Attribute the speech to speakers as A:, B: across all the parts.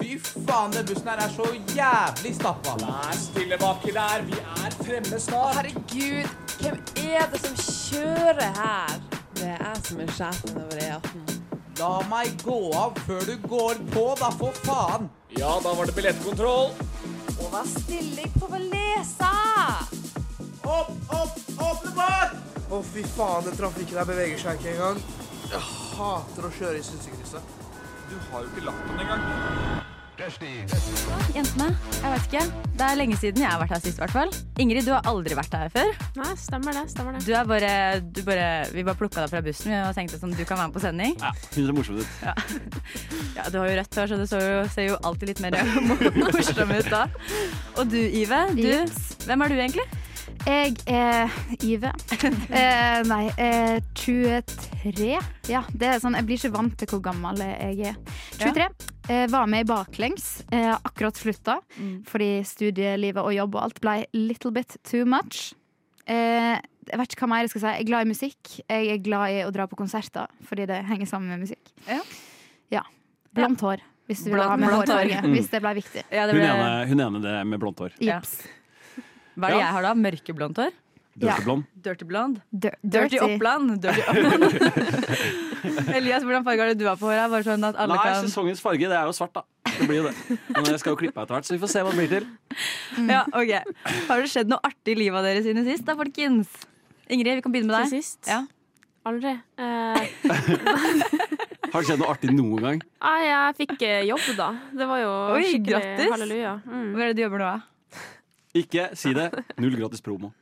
A: Fy faen, den bussen her er så jævlig stappa.
B: Vær stille baki der, vi er fremme snart.
C: Herregud, hvem er det som kjører her? Det er jeg som er sjefen over E18.
A: La meg gå av før du går på, da, for faen.
B: Ja, da var det billettkontroll.
C: Og vær stille, jeg prøver å lese!
A: Opp, opp, åpne bak!
D: Å, fy faen, den trafikken her beveger seg ikke engang. Jeg hater å kjøre i synsekrysset.
B: Du har jo ikke lappen engang.
E: Jentene, jeg vet ikke. Det er lenge siden jeg har vært her sist, i hvert fall. Ingrid, du har aldri vært her før.
F: Nei, stemmer det. stemmer det.
E: Du er bare, du bare, vi bare plukka deg fra bussen vi, og tenkte sånn, du kan være med på sending.
G: Ja, hun ser morsom ut.
E: Ja, Du har jo rødt hår, så det så jo, ser jo alltid litt mer morsom ut da. Og du, Ive. Du, hvem er du egentlig?
H: Jeg er Ive. Eh, nei, eh, 23. Ja, det er sånn, jeg blir ikke vant til hvor gammel jeg er. 23. Eh, var med i Baklengs. Eh, akkurat slutta
E: Mm.
H: fordi studielivet og jobb og alt ble little bit too much. Eh, jeg vet ikke hva mer jeg skal si. Jeg er glad i musikk. Jeg er glad i å dra på konserter fordi det henger sammen med musikk.
E: Ja.
H: Ja. Blondt hår, hvis du vil
E: Blond-
H: ha med
E: blondt hår.
H: hårfarge. Hvis det ble viktig.
E: Ja, det
G: Hun
E: ble-
G: ene, Eh, hun ene det med blondt hår.
E: Ja.
H: Jips.
E: Hva er det
G: Ja.
E: jeg har da? Mørkeblondt hår?
H: Ja.
G: Dørkeblond.
E: Dirty blond?
H: Dir-
E: Dirty Oppland? Dirty Oppland. Elias, hvordan farge har det du har på håret? Bare sånn at alle
G: Nei,
E: kan...
G: sesongens farge, det er jo svart, da. Det blir jo det. Men jeg skal jo klippe etter hvert, så vi får se hva det blir til. sånn.
E: Ja, ok. Har det skjedd noe artig i livet av dere siden sist, da, folkens? Ingrid, vi kan begynne med
F: Til
E: deg.
F: sist.
E: Ja.
F: Aldri. Eh,
G: Har det skjedd noe artig noen gang?
F: ah, jeg fikk eh, jobb, da. Det var jo
E: Oi,
F: skikkelig
E: grattis.
F: halleluja. Mm.
E: Hvor er det du jobber nå? da?
G: Ikke si det. Null gratis promo.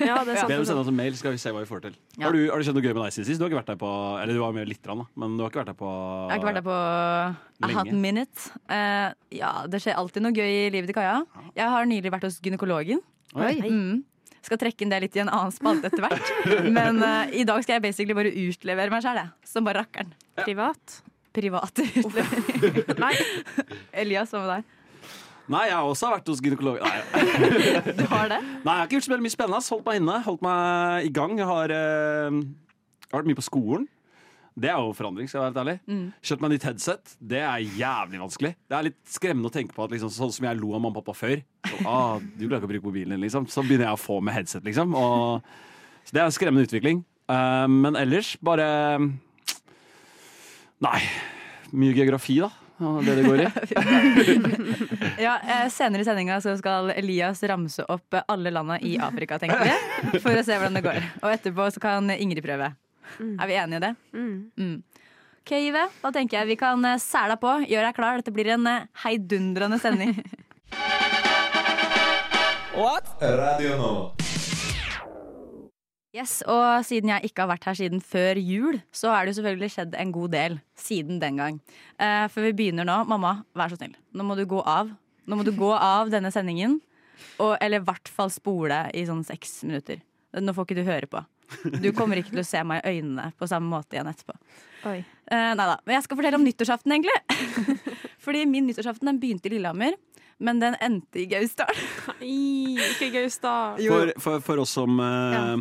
F: Ja, det er sånn sant.
G: Be dem
F: det er
G: sende
F: sant.
G: oss en mail, skal vi se hva vi får til.
E: Ja.
G: Har, du, har det skjedd noe gøy med deg siden sist? Du har ikke vært der på Eller du var med litt, grann, da, men du har ikke vært der på
E: Jeg har ikke vært der på a
G: Lenge.
E: hot minute. Eh, ja, det skjer alltid noe gøy i livet til Kaja. Jeg har nylig vært hos gynekologen.
G: Oi.
E: Mm. Skal trekke inn det litt i en annen spalte etter hvert. Men eh, i dag skal jeg basically bare utlevere meg sjæl, som bare rakkeren.
F: Privat.
E: Privat utlevering.
F: Nei,
E: Elias, hva med deg?
G: Nei, jeg har også vært hos gynekolog. Nei,
E: Du har det?
G: nei, jeg har ikke gjort så veldig mye spennende. ass. Holdt meg inne, holdt meg i gang. Jeg har, eh, jeg har vært mye på skolen. Det er jo forandring, skal jeg være helt ærlig. Kjøpt meg nytt headset. Det er jævlig vanskelig. Det er litt skremmende å tenke på at liksom, sånn som jeg lo av mamma og pappa før så, ah, Du klarer ikke å bruke mobilen din, liksom. Så begynner jeg å få med headset, liksom. Og, så det er en skremmende utvikling. Eh, men ellers bare Nei. Mye geografi, da. og Det det går i.
E: Ja, eh, senere i sendinga så skal Elias ramse opp eh, alle landa i Afrika, tenker vi. For å se hvordan det går. Og etterpå så kan Ingrid prøve. Er vi enige i det? Mm. Ok, Ive. Da tenker jeg vi kan eh, sæle på. Gjør deg klar. Dette blir en eh, heidundrende sending. Yes, og siden jeg ikke har vært her siden før jul, så er det jo selvfølgelig skjedd en god del siden den gang. Eh, før vi begynner nå, mamma, vær så snill. Nå må du gå av. Nå må du gå av denne sendingen. Og, eller i hvert fall spole i sånn seks minutter. Nå får ikke du høre på. Du kommer ikke til å se meg i øynene på samme måte igjen etterpå.
H: Oi.
E: Eh, nei da. Men jeg skal fortelle om nyttårsaften, egentlig. Fordi min nyttårsaften den begynte i Lillehammer, men den endte i Gausdal.
F: Nei, ikke Gaustad.
G: For, for, for oss som eh,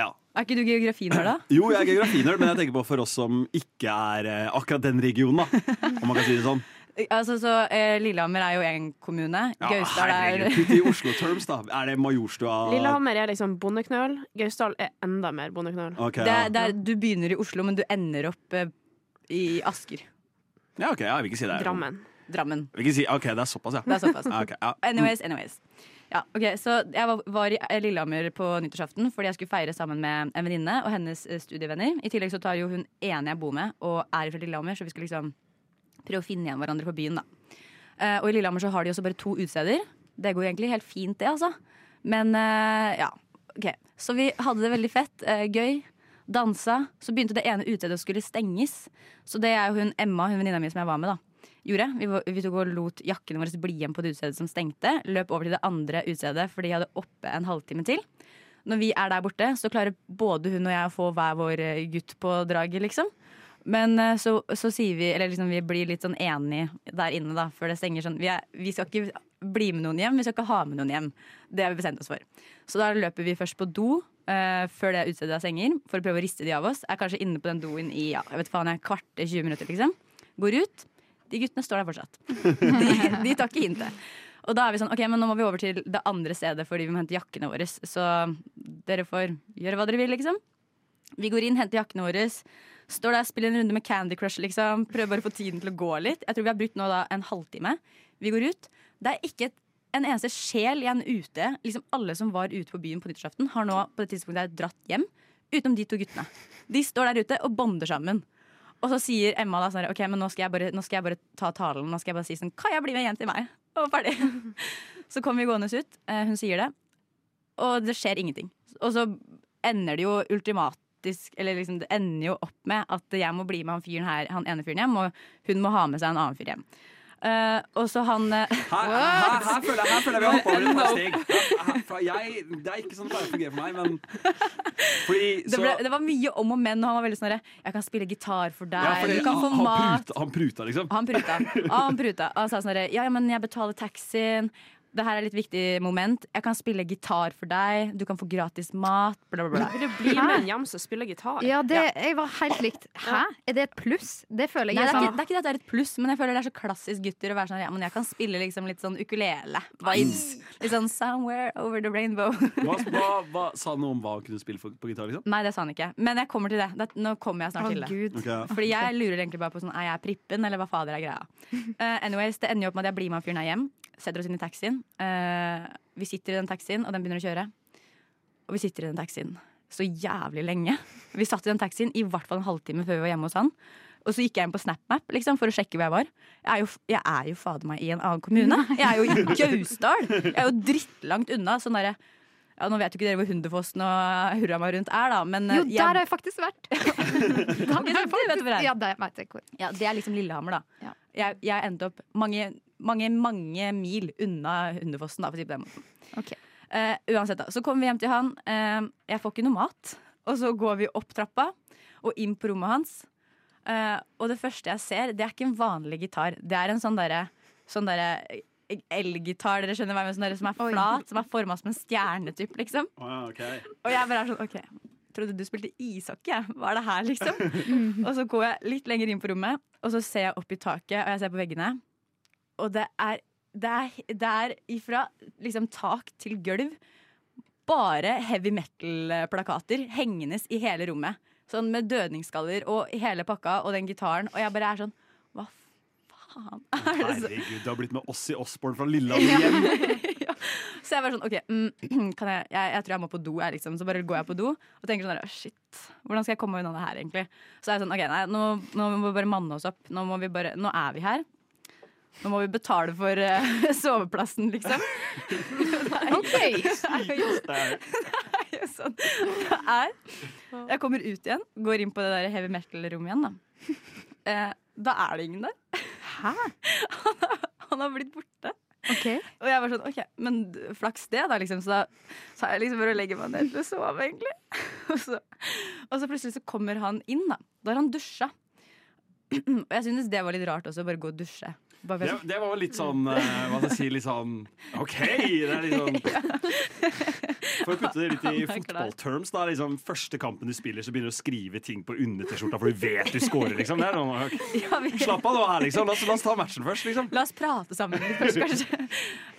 G: ja.
E: Er ikke du geografinerd, da?
G: Jo, jeg er geografinerd, men jeg tenker på for oss som ikke er eh, akkurat den regionen, da. Om man kan si det sånn.
E: Altså, så eh, Lillehammer er jo én kommune.
G: Ja,
E: Gausdal
G: herregud,
E: er
G: putt i Oslo-terms, da. Er det Majorstua
F: Lillehammer er liksom bondeknøl. Gausdal er enda mer bondeknøl.
G: Ok,
E: det,
G: ja.
E: er- det er, Du begynner i Oslo, men du ender opp eh, i Asker.
G: ja, ok, ja, jeg vil ikke si det. er-
F: Drammen.
E: Drammen.
G: Jeg vil ikke si, ok, det er såpass, ja.
E: Det er såpass.
G: Ja, ok, ja.
E: Anyways, anyways. Ja, ok, så Jeg var, var i eh, Lillehammer på nyttårsaften fordi jeg skulle feire sammen med en venninne og hennes eh, studievenner. I tillegg så tar jo hun ene jeg bor med, og er fra Lillehammer, så vi skal liksom prøve å finne igjen hverandre på byen, da. Eh, og i Lillehammer så har de også bare to utesteder. Det går jo egentlig helt fint, det, altså. Men eh, ja. ok. Så vi hadde det veldig fett. eh, gøy. Dansa. Så begynte det ene utestedet å skulle stenges. Så det er jo hun Emma, hun venninna mi som jeg var med, da, gjorde. Vi, var- vi tok og lot jakkene våre bli igjen på det utestedet som stengte. Løp over til det andre utestedet, for de hadde oppe en halvtime til. Når vi er der borte, så klarer både hun og jeg å få hver vår eh, gutt på draget, liksom. Men eh, så, så sier vi, eller liksom vi blir litt sånn enige der inne da, før det stenger sånn. Vi, er, vi skal ikke bli med noen hjem, vi skal ikke ha med noen hjem. Det har vi bestemt oss for. Så da løper vi først på do eh, før det utstedet av senger, for å prøve å riste de av oss. Er kanskje inne på den doen i ja, jeg vet faen, jeg, kvarte 20 minutter, liksom. Går ut, De guttene står der fortsatt. De, de tar ikke hintet. Og da er vi sånn, ok, men nå må vi over til det andre stedet fordi vi må hente jakkene våre. Så dere får gjøre hva dere vil, liksom. Vi går inn, henter jakkene våre. Står der, spiller en runde med Candy Crush, liksom. Prøver bare å få tiden til å gå litt. Jeg tror vi har brukt nå da en halvtime. Vi går ut. Det er ikke et- en eneste sjel igjen ute. Liksom Alle som var ute på byen på nyttårsaften, har nå på det tidspunktet her dratt hjem. Utenom de to guttene. De står der ute og bonder sammen. Og så sier Emma da sånn her, Ok, men nå skal jeg bare, nå skal jeg bare ta talen. Nå skal jeg bare si sånn Kaja, bli med hjem til meg. Og ferdig. Så kommer vi gående ut. eh, Hun sier det. Og det skjer ingenting. Og så ender det jo ultimatisk Eller liksom, det ender jo opp med at jeg må bli med han fyren her, han ene fyren hjem, og hun må ha med seg en annen fyr hjem. Eh, og så han eh,
G: Her, her, her, føler jeg, her føler jeg vi har hoppet over et par steg. Her- her- fra jeg, det er ikke sånn det pleier å fungere for meg, men fordi,
E: det,
G: så,
E: ble, det var mye om og men, og han var veldig sånn herre, Jeg kan spille gitar for deg,
G: ja, fordi
E: du kan få
G: han, han,
E: mat.
G: pruta, han pruta, liksom.
E: Han pruta. Ja, han pruta. Og han sa sånn herre Ja, ja, men jeg betaler taxien. Det her er litt viktig moment. Jeg kan spille gitar for deg. Du kan få gratis mat. Bla, bla, bla.
F: Vil du bli med en hjem som spiller gitar?
H: Ja, det jeg var helt likt. Hæ? Er det et pluss? Det føler
E: Nei,
H: jeg
E: det, er ikke,
H: er sånn
E: det er ikke det at det er et pluss, men jeg føler det er så klassisk gutter å være sånn Ja, men jeg kan spille liksom litt sånn ukulele-vibes. Litt sånn 'Somewhere Over The Rainbow'.
G: Hva, hva, hva, sa han noe om hva han kunne spille for, på gitar, liksom?
E: Nei, det sa han ikke. Men jeg kommer til det. det nå kommer jeg
H: Å,
E: snart til det.
H: gud.
G: Ok, ja.
E: Fordi jeg lurer egentlig bare på sånn, er jeg prippen, eller hva fader er greia? Eh, anyways, Det ender jo opp med at jeg blir med han fyren her hjem, setter oss inn i taxien. Eh, vi sitter i den taxien, og den begynner å kjøre. Og vi sitter i den taxien så jævlig lenge. Vi satt i den taxien i hvert fall en halvtime før vi var hjemme hos han. Og så gikk jeg inn på SnapMap liksom, for å sjekke hvor jeg var. Jeg er jo, jeg er jo fader meg i en annen kommune. Jeg er jo i Gausdal. Jeg er jo drittlangt unna. Sånn derre ja, Nå vet jo ikke dere hvor Hunderfossen og hurra meg rundt er, da, men eh,
H: Jo, der
E: jeg-
H: har jeg faktisk vært. Der har
E: Ok,
H: jeg
E: så du vet hvor det er.
H: Ja, der vet jeg hvor.
E: Ja, det er liksom Lillehammer, da.
H: Ja.
E: Jeg, jeg endte opp mange, mange mange mil unna Hundefossen, da, for å si det på den måten.
H: Ok.
E: Eh, uansett, da. Så kommer vi hjem til han. Eh, jeg får ikke noe mat. Og så går vi opp trappa og inn på rommet hans. Eh, og det første jeg ser, det er ikke en vanlig gitar. Det er en sånn derre sånn derre elgitar, dere skjønner hva jeg mener, sånn derre som er flat, som er forma som en stjerne, typ, liksom.
G: Å, ja, ok.
E: Og jeg bare er sånn, ok, trodde du spilte ishockey, jeg. hva er det her liksom? Og så går jeg litt lenger inn på rommet, og så ser jeg opp i taket, og jeg ser på veggene. Og det er, det er, det er ifra liksom tak til gulv, bare heavy metal-plakater hengendes i hele rommet. Sånn med dødningsskaller og hele pakka og den gitaren, og jeg bare er sånn, hva faen er det så?
G: Herregud, du har blitt med oss i Osborne fra Lillehammer igjen!
E: Så jeg var sånn, ok, mm, kan jeg, jeg, jeg tror jeg må på do, jeg liksom. Så bare går jeg på do og tenker sånn, der, «Åh, shit, hvordan skal jeg komme meg unna det her egentlig? Så er jeg sånn, ok, nei, nå, nå må vi bare manne oss opp. Nå, må vi bare, nå er vi her. Nå må vi betale for eh, soveplassen, liksom.
H: Ok.
E: Det er jo- det er jo sånn det er. Jeg kommer ut igjen, går inn på det der heavy metal-rommet igjen, da. Eh, da er det ingen der. Hæ? Han har, han har blitt borte.
H: Ok.
E: Og jeg var sånn, ok, men d- flaks det da liksom Så da sa jeg liksom bare å legge meg ned til å sove egentlig og så, og så plutselig så kommer han inn da Da har han dusja Og jeg synes det var litt rart også, bare gå og dusje Bare
G: Det,
E: være sånn,
G: det var jo litt sånn eh, Hva skal jeg si, litt sånn OK! Det er litt sånn For å putte det litt i
E: Han er klar.
G: fotballterms, da. Liksom, første kampen du spiller, så begynner du å skrive ting på under-T-skjorta, for du vet du scorer, liksom. Det er noe,
E: ja, vi,
G: Slapp av nå her, liksom. La oss, la oss ta matchen først, liksom.
E: La oss prate sammen litt først kanskje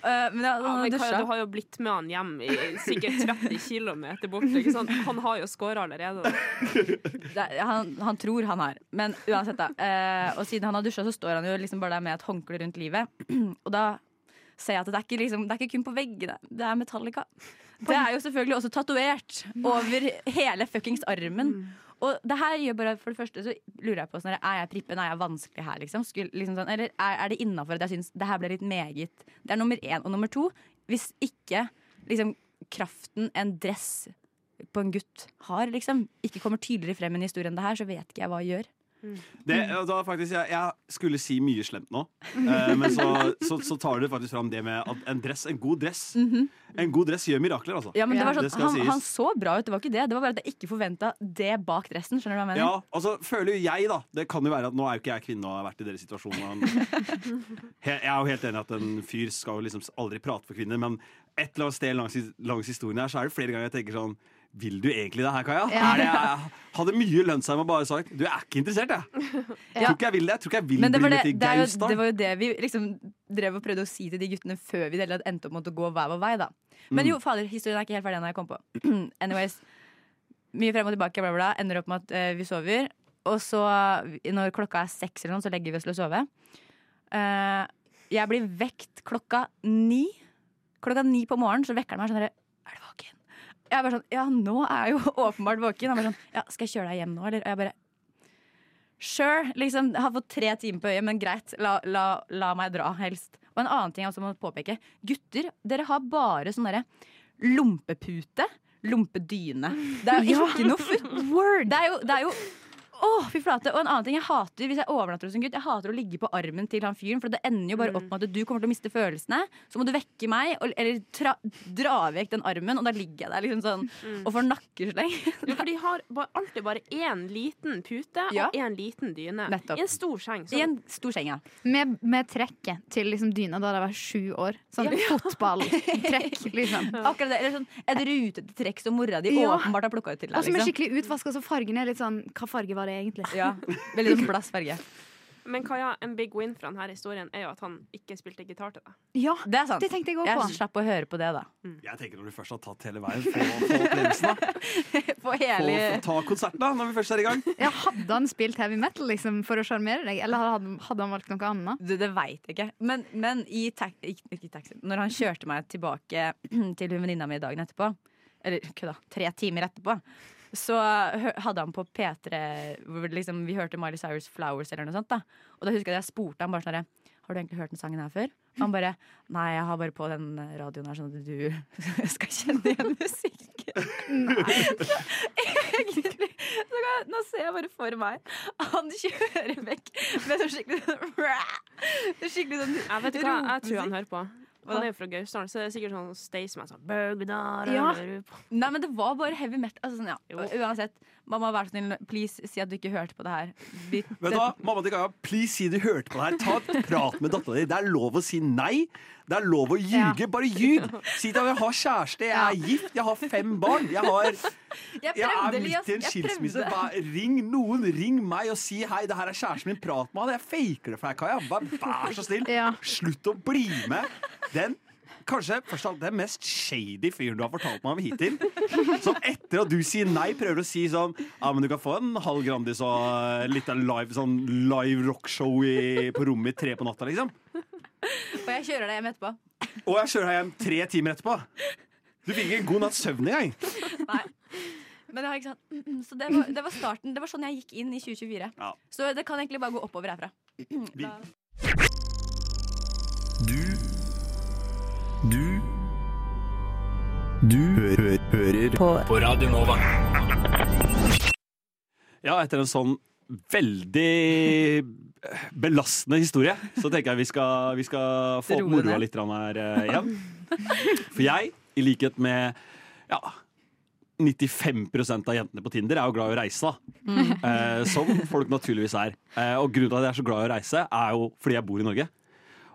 E: Eh, Men ja,
F: Ja,
E: han
F: men Kaja,
E: dusja
F: du har jo blitt med han hjem i sikkert 30 km bort. Ikke sant? Han har jo skåra allerede.
E: det, er- han, han tror han har, men uansett, da. Eh, og siden han har dusja, så står han jo liksom bare der med et håndkle rundt livet. og da ser jeg at det er ikke, liksom, det er ikke kun på veggene, det er Metallica. Det er jo selvfølgelig også tatovert over hele fuckings armen. Og det her gjør bare For det første så lurer jeg på sånn, Er jeg prippen, er jeg vanskelig her, liksom? Skulle, liksom sånn, eller er, er det innafor at jeg syns det her ble litt meget? Det er nummer én. Og nummer to, hvis ikke liksom kraften en dress på en gutt har, liksom, ikke kommer tydeligere frem enn historien det her, så vet ikke jeg hva jeg gjør.
G: Det,
E: Mm.
G: da faktisk, jeg, jeg skulle si mye slemt nå, eh, men så, så, så tar du faktisk fram det med at en dress, en god dress En god dress gjør mirakler, altså.
E: Mhm. Ja, men det var
G: Det
E: sånn,
G: skal
E: han,
G: sies.
E: han så bra ut, det var ikke det. Det var bare at jeg ikke forventa det bak dressen. Skjønner du hva jeg mener?
G: Ja, altså føler jo jeg da Det kan jo være at nå er jo ikke jeg kvinne og har vært i deres situasjon og han- He- Jeg er jo helt enig i at en fyr skal jo liksom aldri prate for kvinner Men et eller annet sted langs, langs historien her Så er det flere ganger jeg tenker sånn Vil du egentlig det her, Kaja?
H: Ja.
G: Er det, jeg hadde mye lønt seg med å bare sagt Du jeg er ikke interessert, jeg.
H: Ja.
G: Tror ikke jeg vil det. Jeg tror ikke jeg vil
E: Men det var
G: bli
E: det,
G: med til
E: det, er jo,
G: Gaustad.
E: det var jo det vi liksom drev og prøvde å si til de guttene før vi i det hele tatt endte opp med å gå hver vår vei. da
G: Mm.
E: Men jo, fader, historien er ikke helt ferdig ennå. Jeg kom på Anyways, Mye frem og tilbake, bla, bla, bla. Ender opp med at eh, vi sover. Og så, eh, når klokka er seks, eller noe, så legger vi oss til å sove. Eh, jeg blir vekt klokka ni. Klokka ni på morgenen så vekker han meg sånn derre Er du våken? Jeg er bare sånn Ja, nå er jeg jo åpenbart våken. Han bare sånn Ja, skal jeg kjøre deg hjem nå, eller? Og jeg bare Sure, liksom, jeg har fått tre timer på øyet, men greit, la, la, la meg dra, helst. Og en annen ting jeg også må påpeke. Gutter, dere har bare sånn derre lompepute, lompedyne. Det er jo ikke noe footword! Det er jo, det er jo å, fy flate. Og en annen ting jeg hater hvis jeg overnatter hos en gutt, jeg hater å ligge på armen til han fyren, for det ender jo bare opp med at du kommer til å miste følelsene. Så må du vekke meg, og, eller tra, dra vekk den armen, og da ligger jeg der liksom sånn og får nakkesleng.
F: Jo, for de har ba- alltid bare én liten pute
E: Ja.
F: og én liten dyne.
E: Nettopp.
F: I en stor seng.
E: I
F: Sånn.
E: en stor seng, ja.
H: Med, med trekket til liksom dyna da det var sju år. Sånn fotballtrekk, liksom.
E: Akkurat det, eller sånn Et rutete trekk som mora di
H: Ja. Altså,
E: åpenbart har plukka ut til deg.
H: Og som er
E: Liksom.
H: skikkelig utvaska, så fargen er litt sånn Hva farge var det egentlig?
E: Ja, Veldig sånn blass farge.
F: Men Kaja, en big win fra denne historien er jo at han ikke spilte gitar til deg.
H: Ja,
E: Det er sant.
H: det tenkte jeg òg på.
E: Jeg slapp å høre på det, da.
G: Jeg tenker når du først har tatt hele veien, få, få opplevelsen, da.
E: På
G: Få,
E: hele
G: få ta konserten, da, når vi først er i gang.
H: Ja, hadde han spilt heavy metal liksom, for å sjarmere deg, eller hadde, hadde han valgt noe annet?
E: Det, det veit jeg ikke. Men, men i tak ikke, ikke i taxi, når han kjørte meg tilbake til hun venninna mi dagen etterpå, eller kødda, tre timer etterpå, så hø- hadde han på P3 hvor liksom, Vi hørte Miley Cyrus Flowers eller noe sånt. da Og da husker jeg at jeg spurte han bare sånn herre Har du egentlig hørt den sangen her før? Og han bare Nei, jeg har bare på den radioen her sånn at du skal kjenne igjen musikken. Egentlig, så kan, jeg- nå ser jeg bare for meg han kjører vekk med sånn skikkelig sånn Skikkelig sånn
F: Jeg vet hva, jeg tror han
E: ropemusikk.
F: hører på.
E: da?
F: Han er jo fra Gausdal, så det er sikkert sånn Staysman som er sånn Bergdar,
H: Ja.
F: hører du på?
E: Nei, men det var bare heavy metal. Altså, sånn, ja.
F: Jo.
E: Og Uansett, mamma, vær så snill, please si at du ikke hørte på det her. Vi-
G: Vet du hva, Mamma til Kaja, please si du hørte på det her. Ta et prat med dattera di. Det er lov å si nei. Det er lov å ljuge. Bare ljug! Si til henne jeg har kjæreste, jeg er gift, jeg har fem barn. Jeg, har,
E: Jeg
G: jeg er
E: prøvde, Elias.
G: midt i en
E: Jeg
G: skilsmisse.
E: prøvde.
G: Bare ring noen, ring meg og si hei, det her er kjæresten min, prat med han. Jeg faker det for deg, Kaja. Bare vær så snill.
H: Ja.
G: Slutt å bli med den Kanskje først av alt, den mest shady fyren du har fortalt meg om hittil. Som etter at du sier nei, prøver å si sånn Ja, men du kan få en halv Grandis og litt av live, sånn live rockshow i, på rommet i tre på natta, liksom.
E: Og jeg kjører deg hjem etterpå.
G: Og jeg kjører deg hjem tre timer etterpå. Du fikk ikke en god natts søvn engang.
E: Men det var ikke sant. Mm, mm. Så det var, det var starten. Det var sånn jeg gikk inn i 2024.
G: Ja.
E: Så det kan egentlig bare gå oppover herfra.
I: Du Du Du hø hø hører på. Radio Nova.
G: Ja, etter en sånn veldig eh, belastende historie, så tenker jeg vi skal, vi skal få opp
E: Roe
G: moroa
E: ned.
G: litt grann her eh, igjen. For jeg, i likhet med ja, 95 av jentene på Tinder, er jo glad i å reise. da.
E: Mm.
G: Eh, som folk naturligvis er. Eh, og grunnen til at jeg er så glad i å reise, er jo fordi jeg bor i Norge.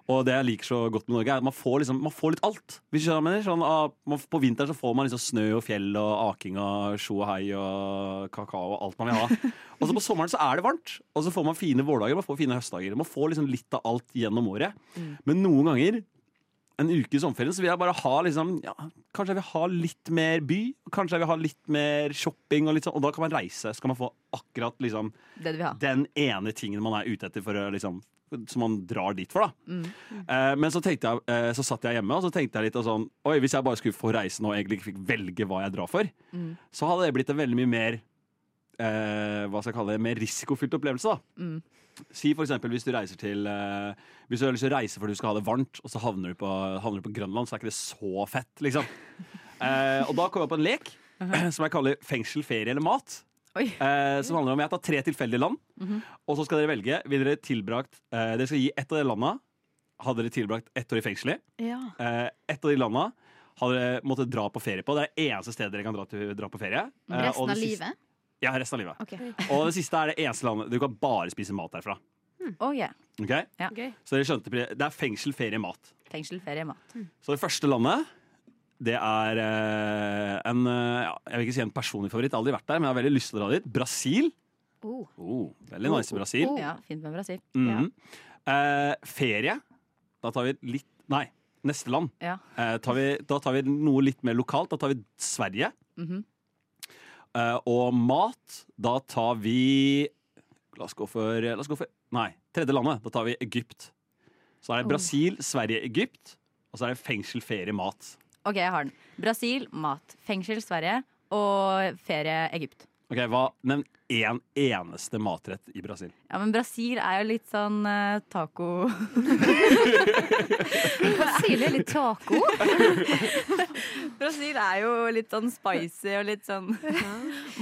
G: Og det jeg liker så godt med Norge, er at man får, liksom, man får litt alt. Hvis du skjønner hva jeg mener. Sånn, ah, man, på vinteren så får man liksom snø og fjell og aking og sjo og hei og kakao og alt man vil ha. Og så på sommeren så er det varmt, og så får man fine vårdager man får fine høstdager. Man får liksom litt av alt gjennom året. Men noen ganger en uke i sommerferien så vil jeg bare ha liksom, ja, Kanskje jeg vil ha litt mer by, kanskje jeg vil ha litt mer shopping, og, litt sånn, og da kan man reise. Så kan man få akkurat liksom,
E: Det du vil ha.
G: den ene tingen man er ute etter for å liksom som man drar dit for, da. Eh, men så, tenkte jeg, eh, så satt jeg hjemme og så tenkte jeg litt og sånn Oi, hvis jeg bare skulle få reise nå og egentlig ikke fikk velge hva jeg drar for, så hadde det blitt en veldig mye mer eh, Hva skal jeg kalle det? Mer risikofylt opplevelse, da. Si for eksempel hvis du reiser til eh, Hvis du har lyst til å reise fordi du skal ha det varmt, og så havner du på, havner du på Grønland, så er ikke det så fett, liksom. Eh, og da kom jeg på en lek som jeg kaller fengsel, ferie eller mat.
E: Oi.
G: Eh, som handler om Jeg tar tre tilfeldige land, og så skal dere velge. Vil dere tilbrakt eh, Dere skal gi ett av de landa Hadde dere tilbrakt ett år i fengsel i.
H: Ja.
G: Eh, ett av de landa hadde dere måttet dra på ferie på. Det er eneste stedet dere kan dra, til, dra på ferie. Eh,
H: Resten
G: og det
H: av
G: siste-
H: livet?
G: Ja, resten av livet.
H: Ok.
G: Og det siste er det eneste landet du kan bare spise mat derfra.
E: Oh, yeah.
G: Ok?
E: Ja.
F: Gøy.
G: Så dere skjønte, det er fengsel, ferie, mat.
E: Fengsel, ferie, mat.
G: Så det første landet Det er eh, en eh, ja, Jeg vil ikke si en personlig favoritt, jeg har aldri vært der, men jeg har veldig lyst til å dra dit. Brasil.
H: Oh.
G: Oh, veldig nice Brasil.
H: Oh.
E: Ja, fint med Brasil.
G: Mhm. Eh, ferie. Da tar vi litt Nei, neste land.
E: Ja.
G: Eh, tar vi, da tar vi noe litt mer lokalt. Da tar vi Sverige.
E: Mhm.
G: Eh, og mat. Da tar vi La oss gå for, la oss gå for Nei, tredje landet. Da tar vi Egypt. Så
H: Oh.
G: er det Brasil, Sverige, Egypt. Og så er det fengsel, ferie, mat.
E: Ok, jeg har den. Brasil, mat. Fengsel, Sverige. Og ferie, Egypt.
G: Ok, hva, Nevn én eneste matrett i Brasil.
E: Ja, men Brasil er jo litt sånn eh, taco
H: Brasil er litt taco.
E: Brasil er jo litt sånn spicy og litt sånn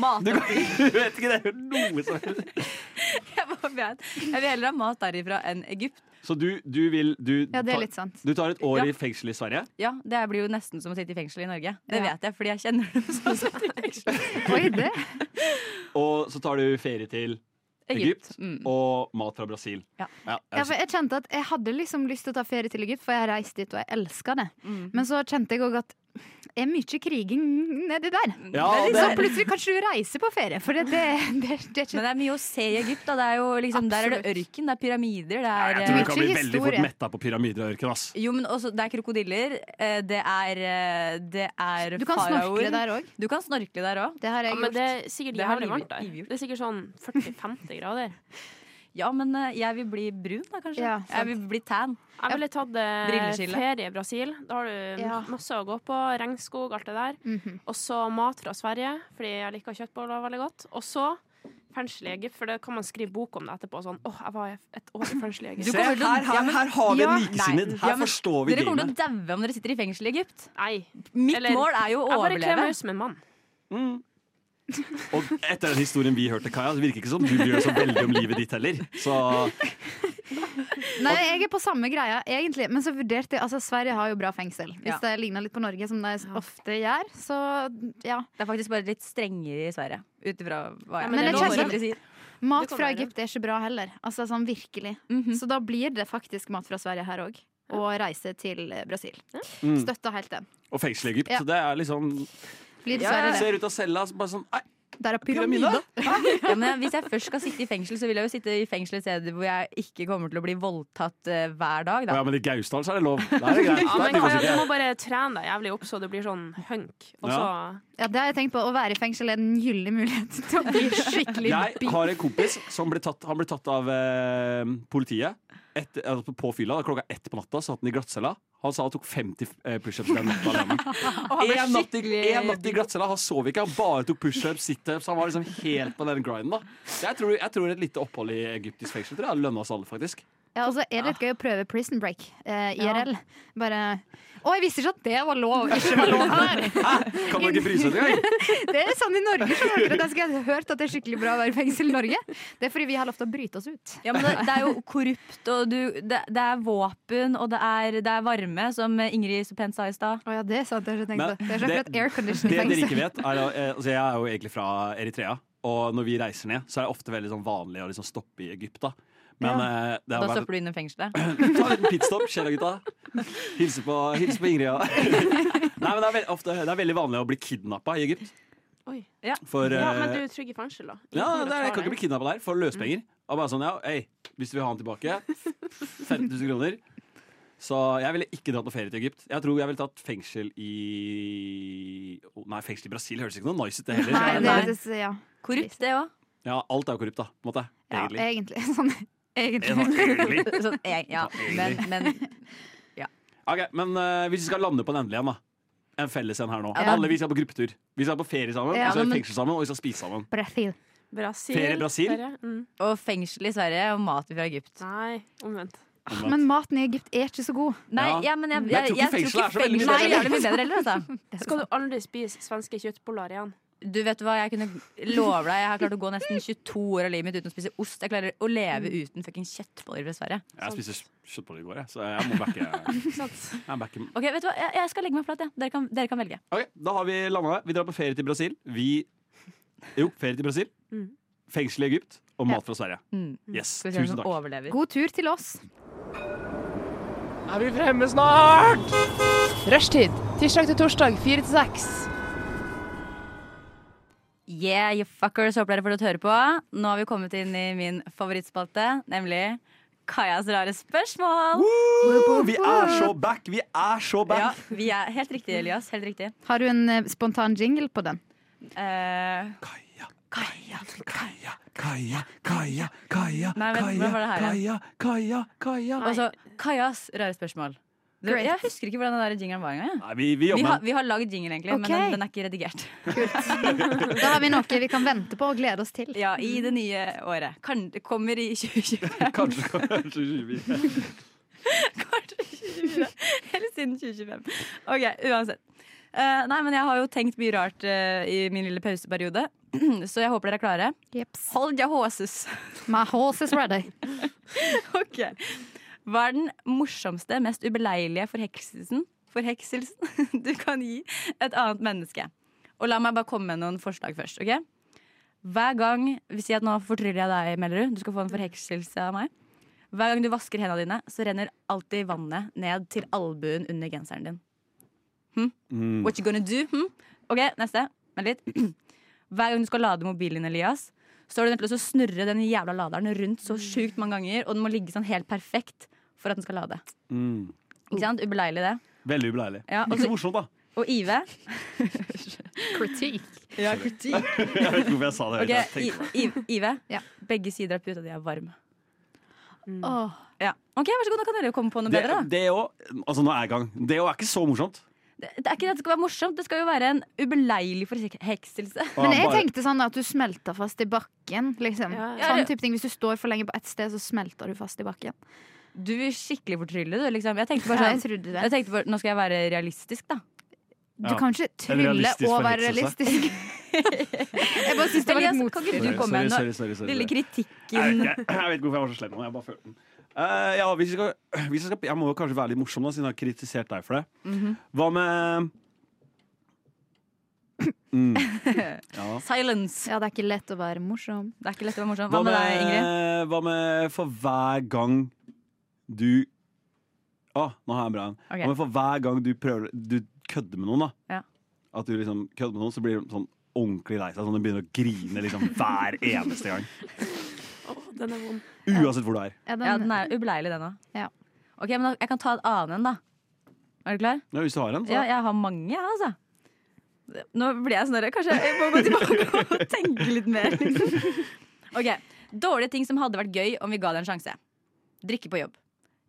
E: mat.
G: Du, kan, du vet ikke det er noe som helst!
E: Jeg bare vet. Jeg vil heller ha mat derifra enn Egypt.
G: Så du, du vil du,
H: Ja, det
G: tar-
H: er litt sånn. sant.
G: du tar et år
E: Ja.
G: i fengsel i Sverige?
E: Ja, Det blir jo nesten som å sitte i fengsel i Norge. Det
H: Ja.
E: vet jeg, fordi jeg kjenner dem som sitter i fengsel.
H: Oi, det.
G: Og så tar du ferie til Egypt,
E: Mm.
G: og mat fra Brasil.
E: Ja.
G: jeg
H: Ja, altså- for jeg kjente at jeg hadde liksom lyst til å ta ferie til Egypt, for jeg har reist dit og jeg elsker det.
F: Mm.
H: Men så kjente jeg òg at det er mye kriging nedi der.
G: Ja,
E: Det
H: Så
E: er-
H: plutselig kan ikke du reise på ferie, for det, det, det, det er
E: Men
H: ikke
E: det er mye å se i Egypt. Da. Det er jo liksom, der er det
H: Absolutt.
E: ørken, det er pyramider, det
G: Nei,
E: er
G: jeg
E: eh,
G: tror
H: mye
G: du kan bli veldig fort
H: historie.
G: metta på pyramider og ørken. ass.
E: jo, men også, det er krokodiller, eh, det er, eh, det er
H: Du kan snorkle der òg.
E: Du kan snorkle der òg.
H: Det har
F: Ja,
H: jeg
F: men
H: gjort.
F: det er sikkert
E: Det har
F: jævlig
E: livet-
F: varmt der.
E: livet gjort.
F: Det er sikkert sånn 40-50 grader.
E: Ja, men eh, jeg vil bli brun, da, kanskje.
H: Ja, sant.
E: jeg vil bli tan.
F: Jeg ville tatt eh,
E: Brilleskille.
F: ferie i Brasil. Da har du mm,
H: Ja.
F: masse å gå på. Regnskog, alt det der.
H: Mhm.
F: Og så mat fra Sverige, fordi jeg liker kjøttboller veldig godt. Og så fengsel i Egypt, for det kan man skrive bok om det etterpå. Sånn, åh, jeg var et år i fengsel i Egypt.
G: Se, her, her, her har vi
E: Ja,
G: en likesinnet!
E: nei,
G: Her
E: ja, men
G: forstår vi
E: Dere kommer
G: gamet.
E: til å daue om dere sitter i fengsel i Egypt.
F: Nei.
E: Mitt
F: Eller-
E: mål er jo å
F: Jeg bare kler
E: overleve.
F: meg ut som en mann.
G: Mm. Og etter den historien vi hørte, Kaja, det virker ikke som du bryr deg så veldig om livet ditt heller. Så
H: Nei, jeg er på samme greia, egentlig. Men så vurderte jeg Altså, Sverige har jo bra fengsel. Hvis
E: Ja.
H: det ligner litt på Norge, som det ofte gjør, så ja.
E: Det er faktisk bare litt strengere i Sverige. Ut ifra
F: Ja,
E: hva jeg
F: men
H: det
E: hva
H: er
E: dere
H: kjedelig.
E: sier.
H: Mat
F: Det Mhm. kan
H: fra
F: være.
H: Egypt er ikke bra heller. Altså sånn virkelig. Så da blir det faktisk mat fra Sverige her òg. Og reise til eh, Brasil.
G: mm.
H: Støtter helt den.
G: Og fengsel i Egypt,
H: Ja.
G: det er liksom
H: Blir dessverre det.
G: Ser ut av cella, så bare sånn Nei,
H: Der er
G: pyramide!
H: pyramide.
E: Ja, men hvis jeg først skal sitte i fengsel, så vil jeg jo sitte i fengsel et sted hvor jeg ikke kommer til å bli voldtatt eh, hver dag.
G: Å
E: Da.
G: ja, men i Gausdal så er det lov. Da er det greit.
F: Ja,
G: Da
F: men
G: er det
F: Kaja,
G: sikkert-
F: du må bare trene deg jævlig opp så du blir sånn hunk. Og så
H: Ja, det har jeg tenkt på. Å være i fengsel er en gyllen mulighet til å bli skikkelig
G: Jeg har en kompis som ble tatt, han ble tatt av eh, politiet etter- altså på fylla. Da Klokka ett på natta satt han i glattcella. Han sa han tok 50 eh, pushups den natta alene. En natt, i- en natt i glattcella. Han sov ikke, han bare tok pushups, situps. Han var liksom helt på den grinden. da Jeg tror, jeg tror et lite opphold i egyptisk fengsel tror jeg hadde lønna oss alle, faktisk.
H: Ja, og så er det litt gøy å prøve prison break. Eh, IRL. Bare Å, jeg visste ikke at det var lov! Ikke var lov her.
G: Kan man ikke bry seg engang?
H: Det er sånn i Norge. skjønner dere, at Jeg skulle hørt at det er skikkelig bra å være i fengsel i Norge. Det er fordi vi har lov til å bryte oss ut.
E: Ja, men det, det er jo korrupt, og du, det, det er våpen, og det er, det er varme, som Ingrid så pent sa i stad.
H: Å ja, det er sant. Det har jeg ikke tenkt
G: Men
H: på. Det er så
G: det-
H: akkurat aircondition i
G: Det dere
H: fengsel.
G: ikke vet, er at eh, altså, jeg er jo egentlig fra Eritrea. Og når vi reiser ned, så er det ofte veldig sånn vanlig å liksom stoppe i Egypt. da Men eh, det har
E: Da
G: vært
E: stopper du innom fengselet.
G: Ta en liten pitstop, skjer da, gutta. Hilse på, hilse på Ingrid. Ja. Nei, men det er, veld, ofte, det er veldig vanlig å bli kidnappa i Egypt.
F: Oi.
E: Ja.
G: For,
F: Ja,
G: eh,
F: men du er trygg i fengsel, da. Ingen
G: ja,
F: kommer til å
G: det er,
F: ta
G: jeg kan
F: deg.
G: ikke bli kidnappa der for løsepenger. Og bare sånn, ja, ei, Hvis du vil ha den tilbake, 15 000 kroner. Så jeg ville ikke dratt noe ferie til Egypt. Jeg tror jeg ville tatt fengsel i Å, Nei, fengsel i Brasil høres ikke noe nice ut, det heller.
H: Nei, det
E: Nei.
H: er, det, ja.
E: Korrupt, det òg.
G: Ja, alt er jo korrupt, da. På en måte.
H: ja,
G: Egentlig.
H: egentlig. Sånn,
G: Ja,
H: egentlig.
G: egentlig.
E: Sånn, eh, ja. Men, men
G: Ok, men eh, hvis vi skal lande på en endelig en, da. En felles en her nå.
H: Ja.
G: Alle vi skal på gruppetur. Vi skal på ferie sammen,
H: Ja,
G: vi skal i
E: men-
G: fengsel sammen, og vi skal spise sammen.
H: Brasil.
F: Brasil.
G: Ferie i Brasil?
F: Ferie? Mm.
E: Og fengsel i Sverige og mat fra Egypt.
F: Nei, omvendt.
G: Omvendt.
H: Men maten i Egypt er ikke så god.
E: Nei,
G: Ja.
E: ja, men jeg,
G: Men jeg
E: jeg,
G: tror ikke
E: jeg tror
G: fengsel
E: ikke
G: er så veldig
E: fengsel er så
H: mye bedre.
E: jævlig mye bedre heller. Altså.
F: Skal du aldri spise svenske kjøttboller igjen?
E: Du vet hva, jeg kunne love deg Jeg har klart å gå nesten 22 år av livet mitt uten å spise ost. Jeg klarer å leve uten fucking kjøttboller fra Sverige.
G: Jeg spiste kjøttboller i går, jeg, så jeg må backe.
F: Ikke sant?
G: Jeg backer.
E: Ok, vet du hva, jeg, jeg skal legge meg flat. Ja. Dere, kan, dere kan velge.
G: Ok, Da har vi landa. Vi drar på ferie til Brasil. Vi Jo, ferie til Brasil.
F: Mm.
G: Fengsel i Egypt og mat fra Sverige.
E: Mm.
G: Yes,
E: Skal vi se
G: Tusen
E: om
G: takk.
E: den overlever.
H: God tur til oss.
B: Er vi fremme snart?
C: Rushtid Tirsdag til torsdag, fire til seks.
E: Yeah, you fuckers, håper dere får lov til å høre på. Nå har vi kommet inn i min favorittspalte, nemlig Kajas rare spørsmål.
G: Vi er så back! Vi er så
E: Ja,
G: back!
E: vi er helt riktig, Elias. Helt riktig.
H: Har du en eh, spontan jingle på den?
E: Eh,
G: Kaja, Kaja, Kaja, Kaja, Kaja, Kaja,
E: Nei, vent, hvordan var det her
G: Kaja, Kaja, Kaja.
E: altså, Kajas rare spørsmål. Det-
H: Great.
E: Jeg husker ikke hvordan den der jingelen var engang. jeg.
G: Nei, vi, vi
E: Vi har,
G: jobber med den.
E: vi har lagd jingle, egentlig, men
H: Ok.
E: den, den er ikke redigert.
H: Da har vi noe vi kan vente på og glede oss til.
E: Ja, I det nye året. Kan, det kommer i 2025.
G: Kanskje, kanskje vi-
E: Kanskje 2024. Eller siden 2025. Ok, uansett. Eh, nei, men jeg har jo tenkt mye rart eh, i min lille pauseperiode, så jeg håper dere er klare.
H: Jeps.
E: Hold your horses.
H: My horse is ready.
E: Ok. Hva er den morsomste, mest ubeleilige forhekselsen, forhekselsen du kan gi et annet menneske? Og la meg bare komme med noen forslag først. ok? Hver gang vi sier at nå fortryller jeg deg, Mellerud, du skal få en forhekselse av meg. Hver gang du vasker hendene dine, så renner alltid vannet ned til albuen under genseren din. Hm?
G: Mm.
E: What you gonna do? Hm? Ok, neste. Vent litt. Hver gang du skal lade mobilen din, Elias, så er du nødt til å snurre den jævla laderen rundt så sjukt mange ganger, og den må ligge sånn helt perfekt for at den skal lade.
G: Mm.
E: Ikke sant? Ubeleilig, det.
G: Veldig ubeleilig.
E: Ja,
G: Ikke
E: altså-
G: så morsomt, da.
E: Og Ive
H: Kritikk.
E: Ja, kritikk.
G: Jeg vet ikke hvorfor jeg sa det. høyt. Jeg tenkte-
E: Ive,
H: Ja. Mm.
E: begge sider av puta di er varm. Åh. Ja. OK, vær så god, nå kan dere jo komme på noe
G: Det
E: bedre. da
G: det òg Altså, nå er jeg i gang. Det òg er ikke så morsomt.
E: Det, det er ikke det at det skal være morsomt, det skal jo være en ubeleilig forhekselse.
G: Ah,
H: Men jeg
G: bare-
H: tenkte sånn at du smelter fast i bakken. Liksom.
F: Ja,
E: ja.
H: Sånn type ting. Hvis du står for lenge på ett sted, så smelter du fast i bakken.
E: Du er skikkelig fortrylle, du. liksom Jeg tenkte
H: Ja,
E: bare
H: jeg
E: sånn
H: trodde
E: jeg
H: det.
E: tenkte bare, Nå skal jeg være realistisk, da.
H: Du
G: Ja.
H: kan ikke
G: En
H: trylle
G: realistisk
H: og være
G: forhekselse.
H: realistisk. Jeg bare syns det var litt
E: Elias, kan
H: motstrid.
E: ikke du komme med
G: Sorry, sorry,
E: den
G: sorry, sorry,
E: lille
G: sorry.
E: kritikken?
G: Jeg, vet ikke- jeg vet ikke hvorfor jeg var så slem nå. Jeg bare følte den. Eh, ja, hvis jeg, skal, hvis jeg, skal, jeg må jo kanskje være litt morsom, da, siden jeg har kritisert deg for det.
E: Mhm.
G: Hva med mm. ja.
E: Silence.
H: Ja, det er ikke lett å være morsom.
E: Det er ikke lett å være morsom.
G: Hva
E: Hva med deg, Ingrid?
G: med, hva med for hver gang du Å, nå har jeg en bra en.
E: Ok.
G: Hva med for hver gang du prøver Du kødder med noen, da.
E: Ja.
G: At du liksom kødder med noen, så blir de sånn ordentlig lei seg. Sånn at de begynner å grine liksom hver eneste gang.
F: Åh, den er vond.
G: Uansett hvor du er.
H: Ja, den,
E: Ja, den er ubeleilig, den òg.
H: Ja.
E: Ok, men da, jeg kan ta en annen en, da. Er du klar?
G: Ja, hvis du har en. Så.
E: Ja, jeg har mange, jeg, altså. Nå ble jeg sånn der, Kanskje jeg må gå tilbake og tenke litt mer. Liksom. Ok, Dårlige ting som hadde vært gøy om vi ga det en sjanse. Drikke på jobb.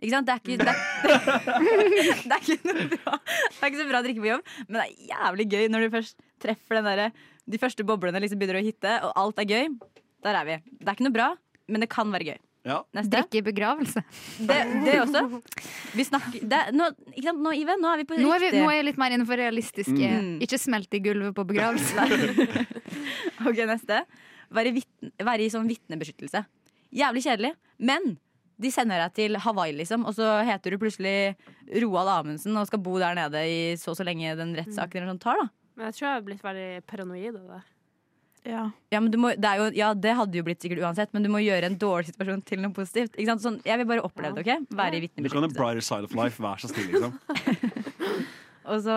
E: Ikke sant? Det er ikke, det er, det er ikke noe bra Det er ikke så bra å drikke på jobb, men det er jævlig gøy når du først treffer den derre- de første boblene liksom begynner å hitte, og alt er gøy. Der er vi. Det er ikke noe bra, men det kan være gøy.
G: Ja.
E: Neste.
H: Drikke i begravelse.
E: Det, det også. Vi snakker det, er- nå, ikke sant? nå, Ive, nå er vi på
H: Nå er, vi,
E: riktig
H: nå er jeg litt mer innenfor realistiske.
E: Mm.
H: Ikke smelte i gulvet på begravelse.
E: Ok, neste. Være, vitn- være i sånn vitnebeskyttelse. Jævlig kjedelig. Men de sender deg til Hawaii, liksom, og så heter du plutselig Roald Amundsen og skal bo der nede i så og så lenge den rettssaken eller sånn tar, da.
F: Men jeg tror jeg har blitt veldig paranoid av det.
E: Ja, men du må, det er jo, ja, det hadde jo blitt sikkert uansett, men du må gjøre en dårlig situasjon til noe positivt. Ikke sant? Sånn, jeg vil bare oppleve det, OK? Være i
G: Du kan the
E: vitnebeskyttelse.
G: brighter side of life, vær så snill, liksom.
E: Og så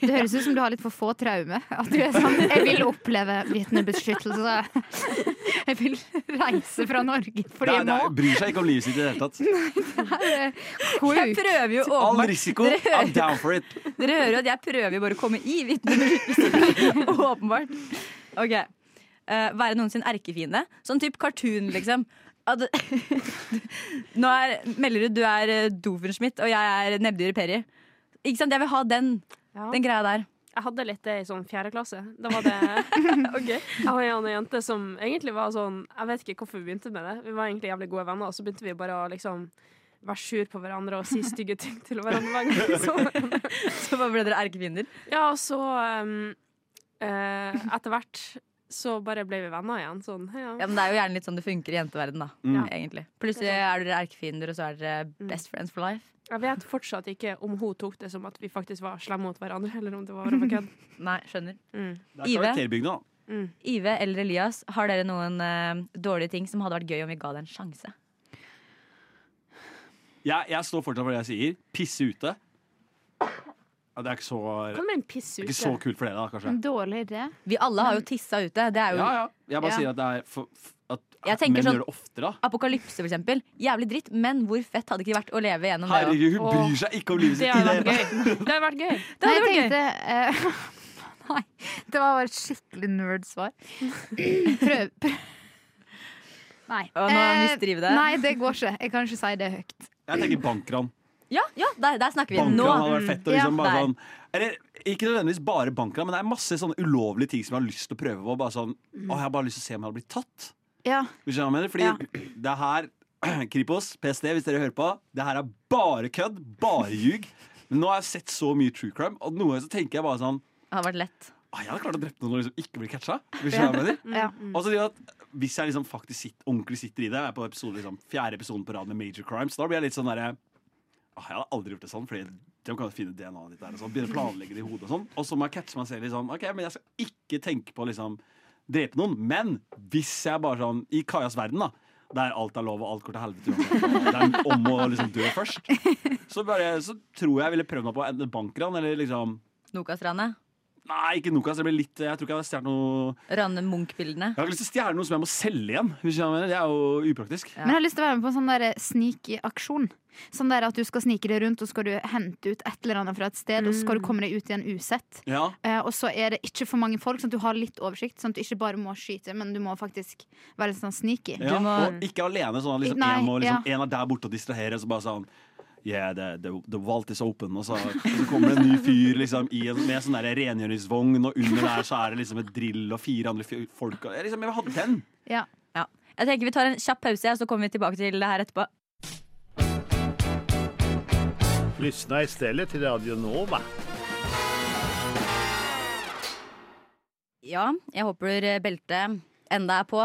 H: Det høres ut som du har litt for få traume. At du er sånn Jeg vil oppleve vitnebeskyttelse. Jeg vil reise fra Norge fordi
G: Det
H: jeg
G: er- det
H: må.
G: er- bryr seg ikke om livet sitt i det hele tatt.
E: Jeg prøver jo å
G: All risiko, I'm down for it.
E: Dere hører jo at jeg prøver jo bare å komme i vitnebeskyttelse. Åpenbart. Ok. Eh, være noen sin erkefiende. Sånn type cartoon, liksom. At, Nå er Mellerud, du er eh, Doofenshmirtz, og jeg er Nebdyr Perry. Ikke sant? Jeg vil ha den,
F: Ja.
E: den greia der.
F: Jeg hadde litt det i sånn fjerde klasse. Da var det Jeg og en jente som egentlig var sånn Jeg vet ikke hvorfor vi begynte med det. Vi var egentlig jævlig gode venner, og så begynte vi bare å liksom være sur på hverandre og si stygge ting til hverandre. hver gang liksom. vi så hverandre.
E: Så bare ble dere erkefiender.
F: Ja, og så um, eh, etter hvert så bare ble vi venner igjen. Sånn, ja.
E: Ja, men det er jo gjerne litt sånn det funker i jenteverden, da.
G: Mm.
E: Egentlig. Plutselig er dere erkefiender, og så er dere best friends for life.
F: Jeg vet fortsatt ikke om hun tok det som at vi faktisk var slemme mot hverandre, eller om det var bare på kødd.
E: Nei, skjønner.
F: Mm.
G: Det er
E: Ive?
G: karakterbygda, da.
E: Ive eller Elias, har dere noen eh, dårlige ting som hadde vært gøy om vi ga det en sjanse?
G: Jeg, jeg står fortsatt for det jeg sier. Pisse ute. Ja, det er ikke så, det
F: Kan det bli en piss
G: er
F: ute?
G: ikke så kult for dere, da, kanskje.
H: En dårlig idé.
E: Vi alle har jo tissa ute. Det er jo
G: Ja, ja. Jeg bare
H: Ja.
G: sier at det er for, f-
E: Jeg
G: at
E: tenker
G: menn
E: sånn-
G: gjør det oftere. da.
E: apokalypse, for eksempel. Jævlig dritt, men hvor fett hadde det ikke vært å leve gjennom det? da?
G: Herregud, hun bryr seg ikke om livet
F: Det
G: sitt i
F: hadde
G: det
F: vært
G: hele tatt.
F: gøy. Det hadde vært gøy.
E: Det hadde
H: Nei, jeg
E: vært gøy.
H: tenkte, eh, Nei, det var bare et skikkelig nerd-svar. Prøv, prøv. Nei.
E: Å, nå
H: Eh,
E: misdriver det.
H: Nei, det går ikke. Jeg kan ikke si det høyt.
G: Jeg tenker bankran.
E: Ja, ja der, der snakker vi.
G: Bankran
E: Nå.
G: hadde vært fett. Og
H: Ja.
G: liksom bare
E: Der.
G: sånn, eller, ikke nødvendigvis bare bankran, men det er masse sånne ulovlige ting som jeg har lyst til å prøve på. Bare sånn, å, jeg har bare lyst til å se om jeg hadde blitt tatt.
H: Ja,
G: Hvis jeg mener, fordi
H: Ja.
G: det her Kripos, PST, hvis dere hører på, det her er bare kødd. Bare ljug. Men nå har jeg sett så mye true crime, og noen ganger så tenker jeg bare sånn
E: Det hadde vært lett.
G: ah, Jeg hadde klart å drepe noen og liksom ikke bli catcha. Hvis jeg mener.
H: ja.
G: Og så sier jeg Altså, at hvis jeg liksom faktisk sitter, ordentlig sitter i det, jeg er på episode, liksom, fjerde episoden på rad med major crimes, da blir jeg litt sånn derre ah, Jeg hadde aldri gjort det sånn, fordi de kan jo finne DNA-et ditt der. Og sånn, begynner å planlegge det i hodet og sånn. Og så må jeg catche meg selv i sånn OK, men jeg skal ikke tenke på å liksom drepe noen. Men hvis jeg bare sånn I Kajas verden, da. Der alt er lov og alt går til helvete. uansett, og Det er om å liksom dø først. Så, bare, så tror jeg jeg ville prøvd meg på enten bankran eller liksom
E: Nokastranet.
G: Nei, ikke Nokas. Det blir litt, jeg tror ikke jeg hadde stjålet noe
E: Ranne Munch-bildene.
G: jeg har ikke lyst til å stjele noe som jeg må selge igjen. Hvis jeg mener. Det er jo upraktisk.
H: Men jeg har lyst til å være med på en sånn der sneaky-aksjon. Sånn der at du skal snike deg rundt, og skal du hente ut et eller annet fra et sted, og så
E: Mm.
H: skal du komme deg ut igjen usett.
G: Ja.
H: Eh, og så er det ikke for mange folk, sånn at du har litt oversikt. Sånn at du ikke bare må skyte, men du må faktisk være litt sånn sneaky.
G: Ja. Og ikke alene sånn at liksom,
H: Nei,
G: en, må, liksom,
H: ja.
G: en er der borte og distraherer, og så bare sånn Yeah, the, the, the vault is open. Og så, og så kommer det en ny fyr liksom, i en, med sånn der rengjøringsvogn, og under der så er det liksom et drill og fire andre fyr, folk. og- Jeg, liksom, jeg vil ha den.
H: Ja.
E: Ja. Jeg tenker Vi tar en kjapp pause, og så kommer vi tilbake til det her etterpå.
J: Lyssna istället till Radio Nova.
E: Ja, jeg håper eh, beltet enda er på,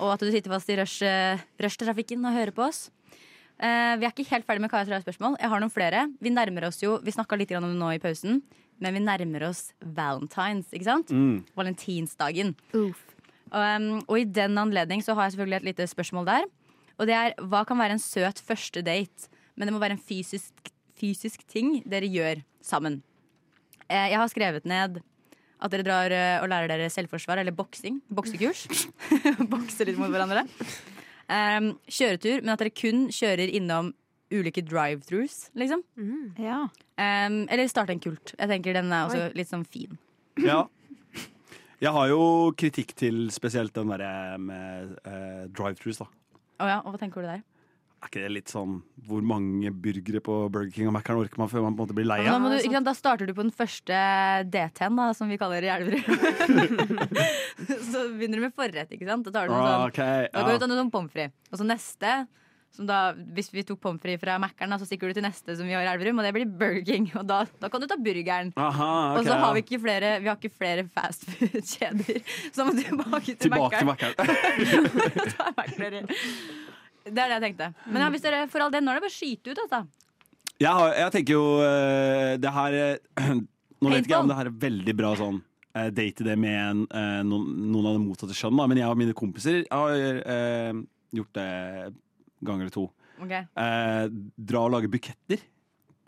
E: og at du sitter fast i rush- eh, rushtrafikken og hører på oss. Eh, vi er ikke helt ferdig med Kajas rare spørsmål. Jeg har noen flere. Vi nærmer oss jo, vi snakka litt grann om det nå i pausen, men vi nærmer oss valentines, ikke sant? Valentinsdagen.
H: Uff.
E: Um, og i den anledning så har jeg selvfølgelig et lite spørsmål der. Og det er hva kan være en søt første date? Men det må være en fysisk, fysisk ting dere gjør sammen. Eh, jeg har skrevet ned at dere drar eh, og lærer dere selvforsvar eller boksing. Boksekurs. Bokse litt mot hverandre. Um, kjøretur, men at dere kun kjører innom ulike drive-throughs, liksom.
H: Ja.
E: Um, eller starte en kult. Jeg tenker den er også litt sånn fin.
G: Ja. Jeg har jo kritikk til spesielt den derre med eh, drive-thrus, da.
E: Å ja, og hva tenker du der?
G: Er ikke det litt sånn Hvor mange burgere på Burger King og Mac-en orker man før man på en måte blir lei
E: Da,
G: av?
E: må du, ikke sant? da starter du på den første DT-en, da, som vi kaller det i Elverum. så begynner du med forrett. ikke sant? Da tar du noe
G: Ah,
E: sånn,
G: ok,
E: da går du
G: ja.
E: til noen pommes frites. Og så neste, som da, hvis vi tok pommes frites fra Mækkern, da, så stikker du til neste som vi har i Elverum, og det blir Burger King. Og da, da kan du ta burgeren.
G: Aha,
E: og
G: ok,
E: så har
G: ja.
E: vi ikke flere, vi har ikke flere fastfood-kjeder, så da må du tilbake til
G: Tilbake til
E: Mækkern.
G: Mac-en.
E: Ta Mækkern. Det er det jeg tenkte. Men ja, hvis dere, for all del, nå er det bare å skyte ut, altså.
G: Jeg, har, jeg tenker jo eh, det her eh, Nå vet ikke jeg
E: Paintball.
G: om det her er veldig bra sånn eh, date det med en, eh, noen, noen av det motsatte kjønn, da, men jeg og mine kompiser har eh, gjort det ganger to.
E: Ok.
G: Eh, dra og lage buketter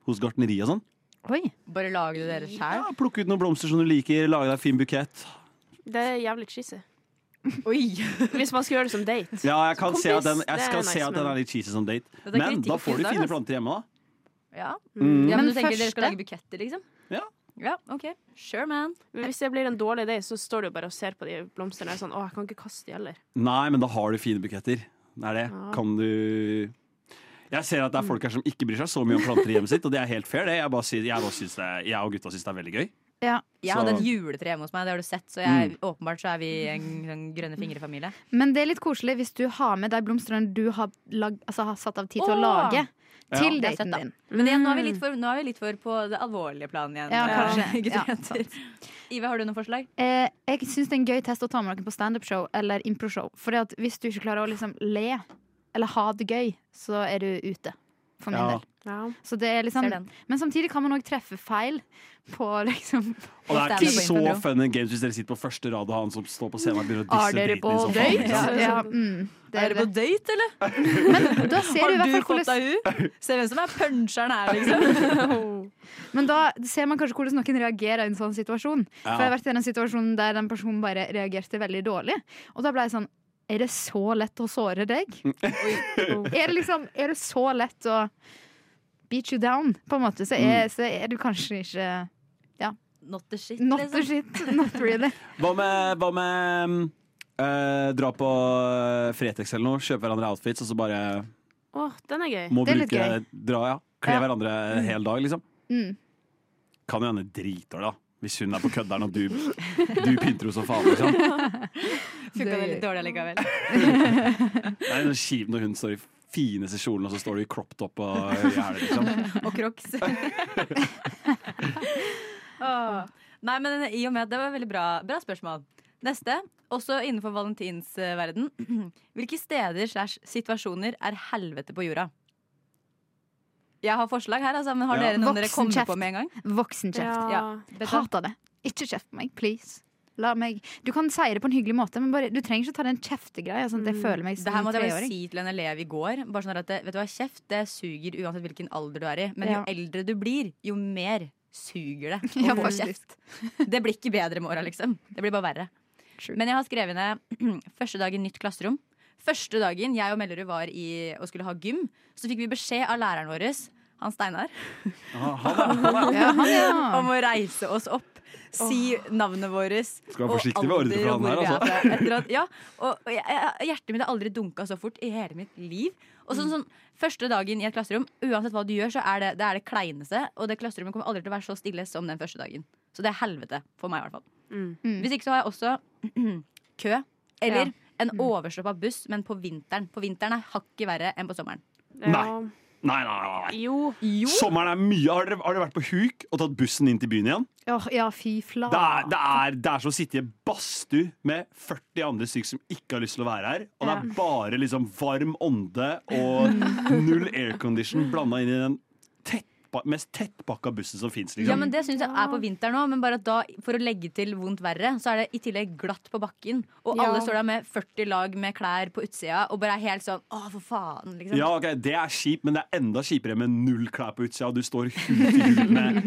G: hos gartneri og sånn.
E: Bare lager du dere sjæl?
G: Ja, plukke ut noen blomster som du liker, lage deg en fin bukett.
F: Det er jævlig cheesy.
E: Oi!
F: Hvis man skal gjøre det som date.
G: Ja, jeg kan
F: Kompis,
G: se at den,
F: det
G: jeg
F: er
G: skal
F: nice,
G: se at den
F: men-
G: er litt cheesy som date.
E: Det er
G: Men
E: kritikk
G: da
E: og
G: får du
E: fint,
G: fine
E: altså.
G: planter hjemme, da. Mm.
E: Ja.
H: Ja,
E: Mm. ja, men,
H: men
E: du tenker dere skal
H: første-
E: lage buketter, liksom?
G: Ja.
E: Ja, ok. Sure, man.
F: Men hvis det blir en dårlig date, så står du jo bare og ser på de blomstene og er sånn Å, jeg kan ikke kaste de heller.
G: Nei, men da har du fine buketter. Det er det.
F: Ja.
G: Kan du Jeg ser at det er folk her som ikke bryr seg så mye om planter i hjemmet sitt, og det er helt fair, det. Jeg, bare sier, jeg, bare syns det, jeg og gutta syns det er veldig gøy.
H: ja.
E: Jeg
G: Så-
E: hadde et juletre hjemme hos meg, det har du sett, så jeg, åpenbart så er vi en sånn grønne fingre-familie.
H: Men det er litt koselig hvis du har med de blomstene du har, lag, altså, har satt av tid til å
E: Åh!
H: lage, til
E: det er søtt,
H: daten
E: da.
H: din.
E: Men igjen, nå, er vi litt for, nå er vi litt for på det alvorlige planet igjen.
H: Ja, kanskje.
E: Ikke
H: Ja,
E: sant? Ive, har du noen forslag?
H: Eh, jeg syns det er en gøy test å ta med noen på standup-show eller impro-show. For at hvis du ikke klarer å liksom le eller ha det gøy, så er du ute. For min
G: Ja.
H: del.
F: Ja.
H: Så det er liksom,
E: Ser den.
H: men samtidig kan man òg treffe feil på liksom
G: Og det er
E: Ofte er
G: ikke
E: det på
G: så
E: impro.
G: fun and games hvis dere sitter på første rad og han som står på scenen og begynner å
E: Har
G: disse
E: dere
G: driten
E: på
G: i sånn sofaen.
E: date?
G: ikke sant?
H: ja, ja, mm, det
E: Er
H: er
E: dere på
H: det.
E: date, eller?
H: Men da ser du i
E: Har du
H: hvert fall
E: fått
H: hvordan
E: deg hun? Se hvem som er puncheren her, liksom.
H: Men da ser man kanskje hvordan noen reagerer i en sånn situasjon.
G: Ja.
H: For jeg har vært i en situasjon der den personen bare reagerte veldig dårlig. Og da ble jeg sånn Er det så lett å såre deg? er det liksom Er det så lett å beat you down, på en måte? Så er, så er du kanskje ikke
E: Not the shit,
H: Not the
E: liksom.
H: shit, not really.
G: Hva med, hva med mm, eh, dra på eh, Fretex eller noe, kjøpe hverandre outfits og så bare
F: Å, den er gøy.
G: må
H: Det er litt
G: bruke
H: gøy.
G: dra, ja. Kle
H: Ja.
G: hverandre en hel dag, liksom.
H: Mm.
G: Kan jo hende dritdårlig, da. Hvis hun er på kødderen og du, du pynter henne som faen. Liksom.
E: Funka det
H: Det-
E: litt dårlig allikevel.
G: Det er jo kjipt når hun står i fineste kjolen, og så står du i crop top og gjerne, liksom.
E: Og crocs. Åh. Nei, men i og med at det var veldig bra, bra spørsmål. Neste, også innenfor valentinsverden. Hvilke steder slash situasjoner er helvete på jorda? Jeg har forslag her, altså, men har
G: Ja.
E: dere noen dere kommer
H: Voksenkjeft.
E: på med en gang?
H: Voksenkjeft.
E: Ja.
H: Hater det. Ikke kjeft på meg, please. La meg. Du kan si det på en hyggelig måte, men bare, du trenger ikke ta den kjeftegreia. Sånn at jeg føler meg
E: Mm, Det
H: som
E: her
H: en
E: måtte jeg bare
H: treåring.
E: si til en elev i går. Bare sånn at det, vet du hva, Kjeft det suger uansett hvilken alder du er i. Men jo
H: Ja.
E: eldre du blir, jo mer suger det. å
H: Ja,
E: få
H: faktisk.
E: kjeft. Det blir ikke bedre med åra, liksom. Det blir bare verre.
H: True.
E: Men jeg har skrevet ned første dag i nytt klasserom. Første dagen jeg og Mellerud var i og skulle ha gym, så fikk vi beskjed av læreren vår, han Steinar,
H: Ja, han, ja.
E: om å reise oss opp. Si navnet vårt.
G: Skal være forsiktig med ordre fra han her, altså.
E: altså. Ja, og og jeg, jeg, hjertet mitt har aldri dunka så fort i hele mitt liv. Og sånn, sånn, Første dagen i et klasserom, uansett hva du gjør, så er det det, er det kleineste. Og det klasserommet kommer aldri til å være så stille som den første dagen. Så det er helvete for meg, i hvert fall.
H: Mm.
E: Hvis ikke så har jeg også kø.
H: Ja.
E: Eller en overstoppa buss, men på vinteren. På vinteren er hakket verre enn på sommeren.
F: Ja.
G: Nei, nei, nei, nei.
F: Jo.
G: Sommeren er mye. Har dere, har dere vært på huk og tatt bussen inn til byen igjen?
H: Åh, ja, fy
G: Det er,
H: flate.
G: det er, det er som å sitte i en badstue med 40 andre stykker som ikke har lyst til å være her. Og det er bare liksom varm ånde og null aircondition blanda inn i den tettpa- mest tettpakka bussen som fins.
E: Ja,
G: Liksom.
E: men Det syns jeg er på vinteren òg, men bare at da, for å legge til vondt verre, så er det i tillegg glatt på bakken. Og
H: Ja.
E: alle står der med 40 lag med klær på utsida og bare er helt sånn Å, for faen, liksom.
G: Ja, ok, Det er kjipt, men det er enda kjipere med null klær på utsida, og du står hud til hud med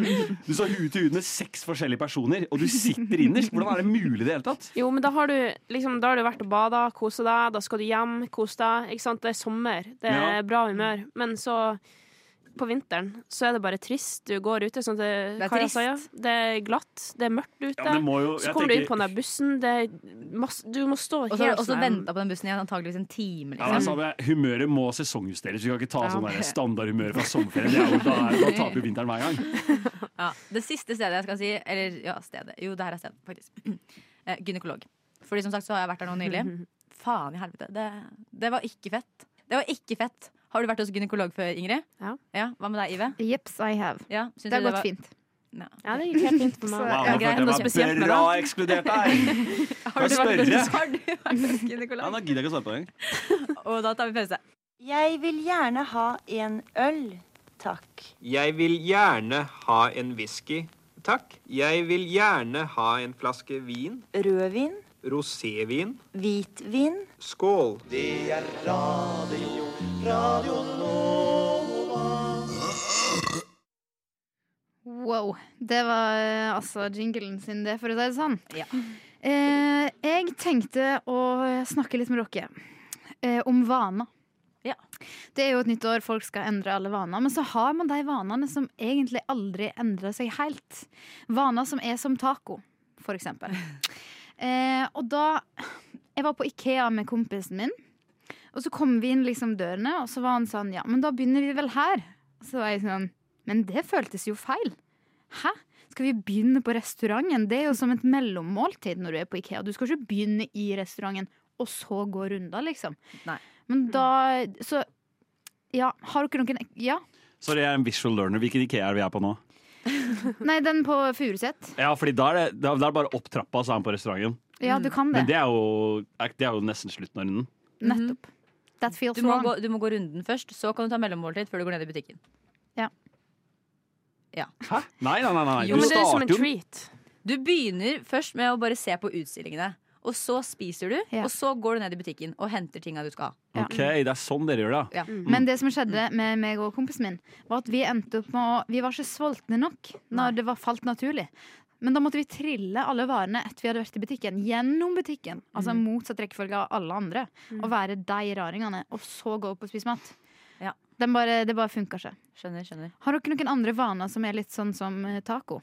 G: Du står hud til hud med seks forskjellige personer, og du sitter innerst. Hvordan er det mulig i det hele tatt?
F: Jo, men da har du liksom, da har du vært og bada, kosa deg, da skal du hjem, kose deg. Ikke sant? Det er sommer, det er
G: Ja.
F: bra humør. Men så på vinteren så er det bare trist. Du går ute, sånn det,
E: Det er
F: Kaja
E: trist.
F: sa, ja. Det er glatt, det er mørkt ute.
G: Ja, det må jo- jeg
F: så kommer du
G: tenker-
F: inn på den der bussen, det er masse Du må stå
E: Og så har
F: helt
E: du også
F: sånn
E: venta på den bussen i antageligvis en time.
G: Ja, altså, det er
E: Liksom.
G: samme. humøret må sesongjusteres. Vi kan ikke ta
F: Ja.
G: sånn der standardhumør fra sommerferien. Det er jo- Da, er- da taper jo vinteren hver gang.
E: Ja. Det siste stedet jeg skal si Eller ja, stedet. Jo, det her er stedet, faktisk. Eh, gynekolog. Fordi som sagt så har jeg vært der nå nylig. Faen i helvete. Det, det var ikke fett. Det var ikke fett. Har du vært hos gynekolog før, Ingrid?
F: Ja.
E: Hva med deg, Ive?
H: Jeps, I have.
E: Ja, syns
H: Det har
E: du
H: gått
E: var-
H: fint.
E: Ja.
F: Ja, det gikk helt fint for meg.
G: Wow,
E: Ja,
G: nå
E: greit.
G: følte
E: Noe
G: jeg
F: spesielt
G: meg
F: med
G: bra ekskludert her!
E: Har du vært
G: spørre?
E: har du vært hos gynekolog?
G: Ja, da gidder jeg ikke å svare på det.
E: Og da tar vi pause.
K: Jeg vil gjerne ha en øl, takk.
A: Jeg vil gjerne ha en whisky. Takk. Jeg vil gjerne ha en flaske vin.
K: Rødvin,
A: Rosévin.
K: hvitvin.
A: Skål.
H: Wow. Det var eh, altså jinglen sin, det, for å si det sånn.
E: Ja.
H: Eh, jeg tenkte å snakke litt med dere eh, om vaner.
E: Ja.
H: Det er jo et nytt år, folk skal endre alle vaner. Men så har man de vanene som egentlig aldri endrer seg helt. Vaner som er som taco, for eksempel. Eh, og da Jeg var på Ikea med kompisen min, og så kom vi inn liksom dørene, og så var han sånn Ja, men da begynner vi vel her. Og så var jeg sånn Men det føltes jo feil. Hæ? Skal vi begynne på restauranten? Det er jo som et mellommåltid når du er på Ikea. Du skal ikke begynne i restauranten og så gå runder, liksom.
E: Nei. Mm.
H: Men da Så ja, har dere noen Ja?
G: Sorry, jeg er en visual learner. Hvilken Ikea er det vi er på nå?
H: Nei, den på Furuset.
G: Ja, fordi Da er det, da da er det bare opp trappa, så er han på restauranten.
H: Ja,
E: Mm.
H: du kan
G: Men
H: det.
G: det er jo, er- det er jo nesten slutten av runden.
H: Nettopp. That feels
E: Mm. Du må,
H: wrong.
E: gå, du må gå runden først, så kan du ta mellommåltid før du går ned i butikken.
H: Ja.
G: Hæ? Nei, nei, nei. nei.
E: Jo, men det er som en
G: starter jo den.
E: treat. Du begynner først med å bare se på utstillingene. Og så spiser du, og så går du ned i butikken og henter tinga du skal ha.
G: Ok, det er sånn dere gjør det. ja.
E: Mm.
H: Men det som skjedde med meg og kompisen min, var at vi endte opp med å Vi var ikke sultne nok når det var falt naturlig. Men da måtte vi trille alle varene etter vi hadde vært i butikken. Gjennom butikken. Altså
E: Mm.
H: motsatt rekkefølge av alle andre.
E: Mm.
H: Og være de raringene. Og så gå opp og spise mat.
E: Ja.
H: Den bare, det bare funka ikke.
E: Skjønner, skjønner.
H: Har dere noen andre vaner som er litt sånn som eh, taco?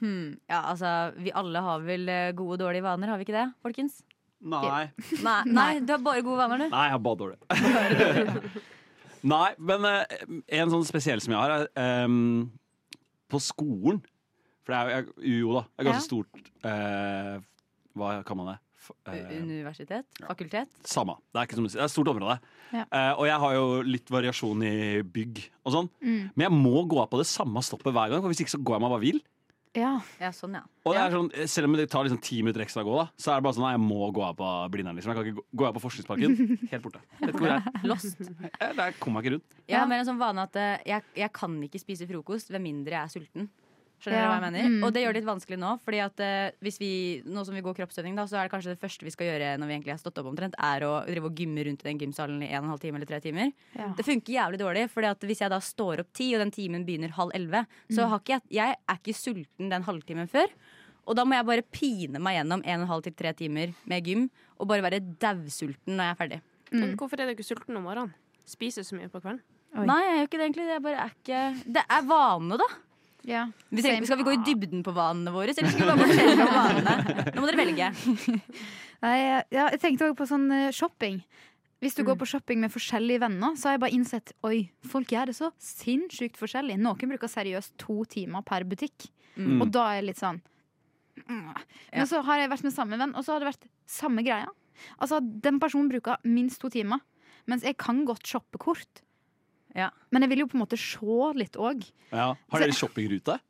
E: Hmm. Ja, altså, vi alle har vel eh, gode og dårlige vaner, har vi ikke det, folkens?
G: Nei.
E: Nei, nei, du har bare gode vaner, du.
G: Nei, jeg er bare dårlig. Nei, men eh, en sånn spesiell som jeg har, er em, på skolen. For det er jo jeg, Jo da, det er ganske stort eh, Hva kan man det? F- eh,
E: U- Universitet? Fakultet?
G: Samme. Det er, ikke som, du sier, det er et stort område.
E: Ja.
G: Eh, og jeg har jo litt variasjon i bygg og sånn.
E: Mm.
G: Men jeg må gå av på det samme stoppet hver gang, for hvis ikke så går jeg meg bare vill.
H: Ja.
E: sånn, ja.
G: Og det er sånn, Selv om det tar liksom ti minutter ekstra å gå, da, så er det bare sånn nei, jeg må gå av på Blindern. Liksom. Jeg kan ikke gå, går jeg på Forskningsparken. Helt borte. Vet ikke hvor jeg er.
E: Lost.
G: Eh, Der kom jeg ikke rundt.
E: Jeg har mer en sånn vane at eh, jeg, jeg kan ikke spise frokost ved mindre jeg er sulten. Skjønner dere
H: Ja.
E: hva jeg mener?
H: Mm.
E: Og det gjør det litt vanskelig nå. Fordi at eh, hvis vi, nå som vi går kroppsøving, da, så er det kanskje det første vi skal gjøre når vi egentlig har stått opp omtrent, er å drive og gymme rundt i den gymsalen i en og en halv time eller tre timer.
H: Ja.
E: Det funker jævlig dårlig, fordi at hvis jeg da står opp ti, og den timen begynner halv elleve, så
H: Mm.
E: har ikke jeg, jeg er ikke sulten den halvtimen før. Og da må jeg bare pine meg gjennom en og en halv til tre timer med gym, og bare være dausulten når jeg er ferdig.
F: Men Hvorfor er du ikke sulten om morgenen? Spiser så mye på kvelden?
E: Nei, jeg er jo ikke det egentlig. Det er bare er ikke Det er vane, da. Vi trenger,
H: Same.
E: skal vi gå i dybden på vanene våre, eller skal vi bare fortelle om vanene? Nå må dere velge.
H: Nei, ja, jeg tenkte også på sånn eh, shopping. Hvis du går på shopping med forskjellige venner, så har jeg bare innsett Oi, folk gjør det så sinnssykt forskjellig. Noen bruker seriøst to timer per butikk.
L: Mm.
H: Og da er jeg litt sånn mm. Men så har jeg vært med samme venn, og så har det vært samme greia. Altså, Den personen bruker minst to timer. Mens jeg kan godt shoppe kort. Men jeg vil jo på en måte se litt òg.
G: Ja. Har dere shoppingrute?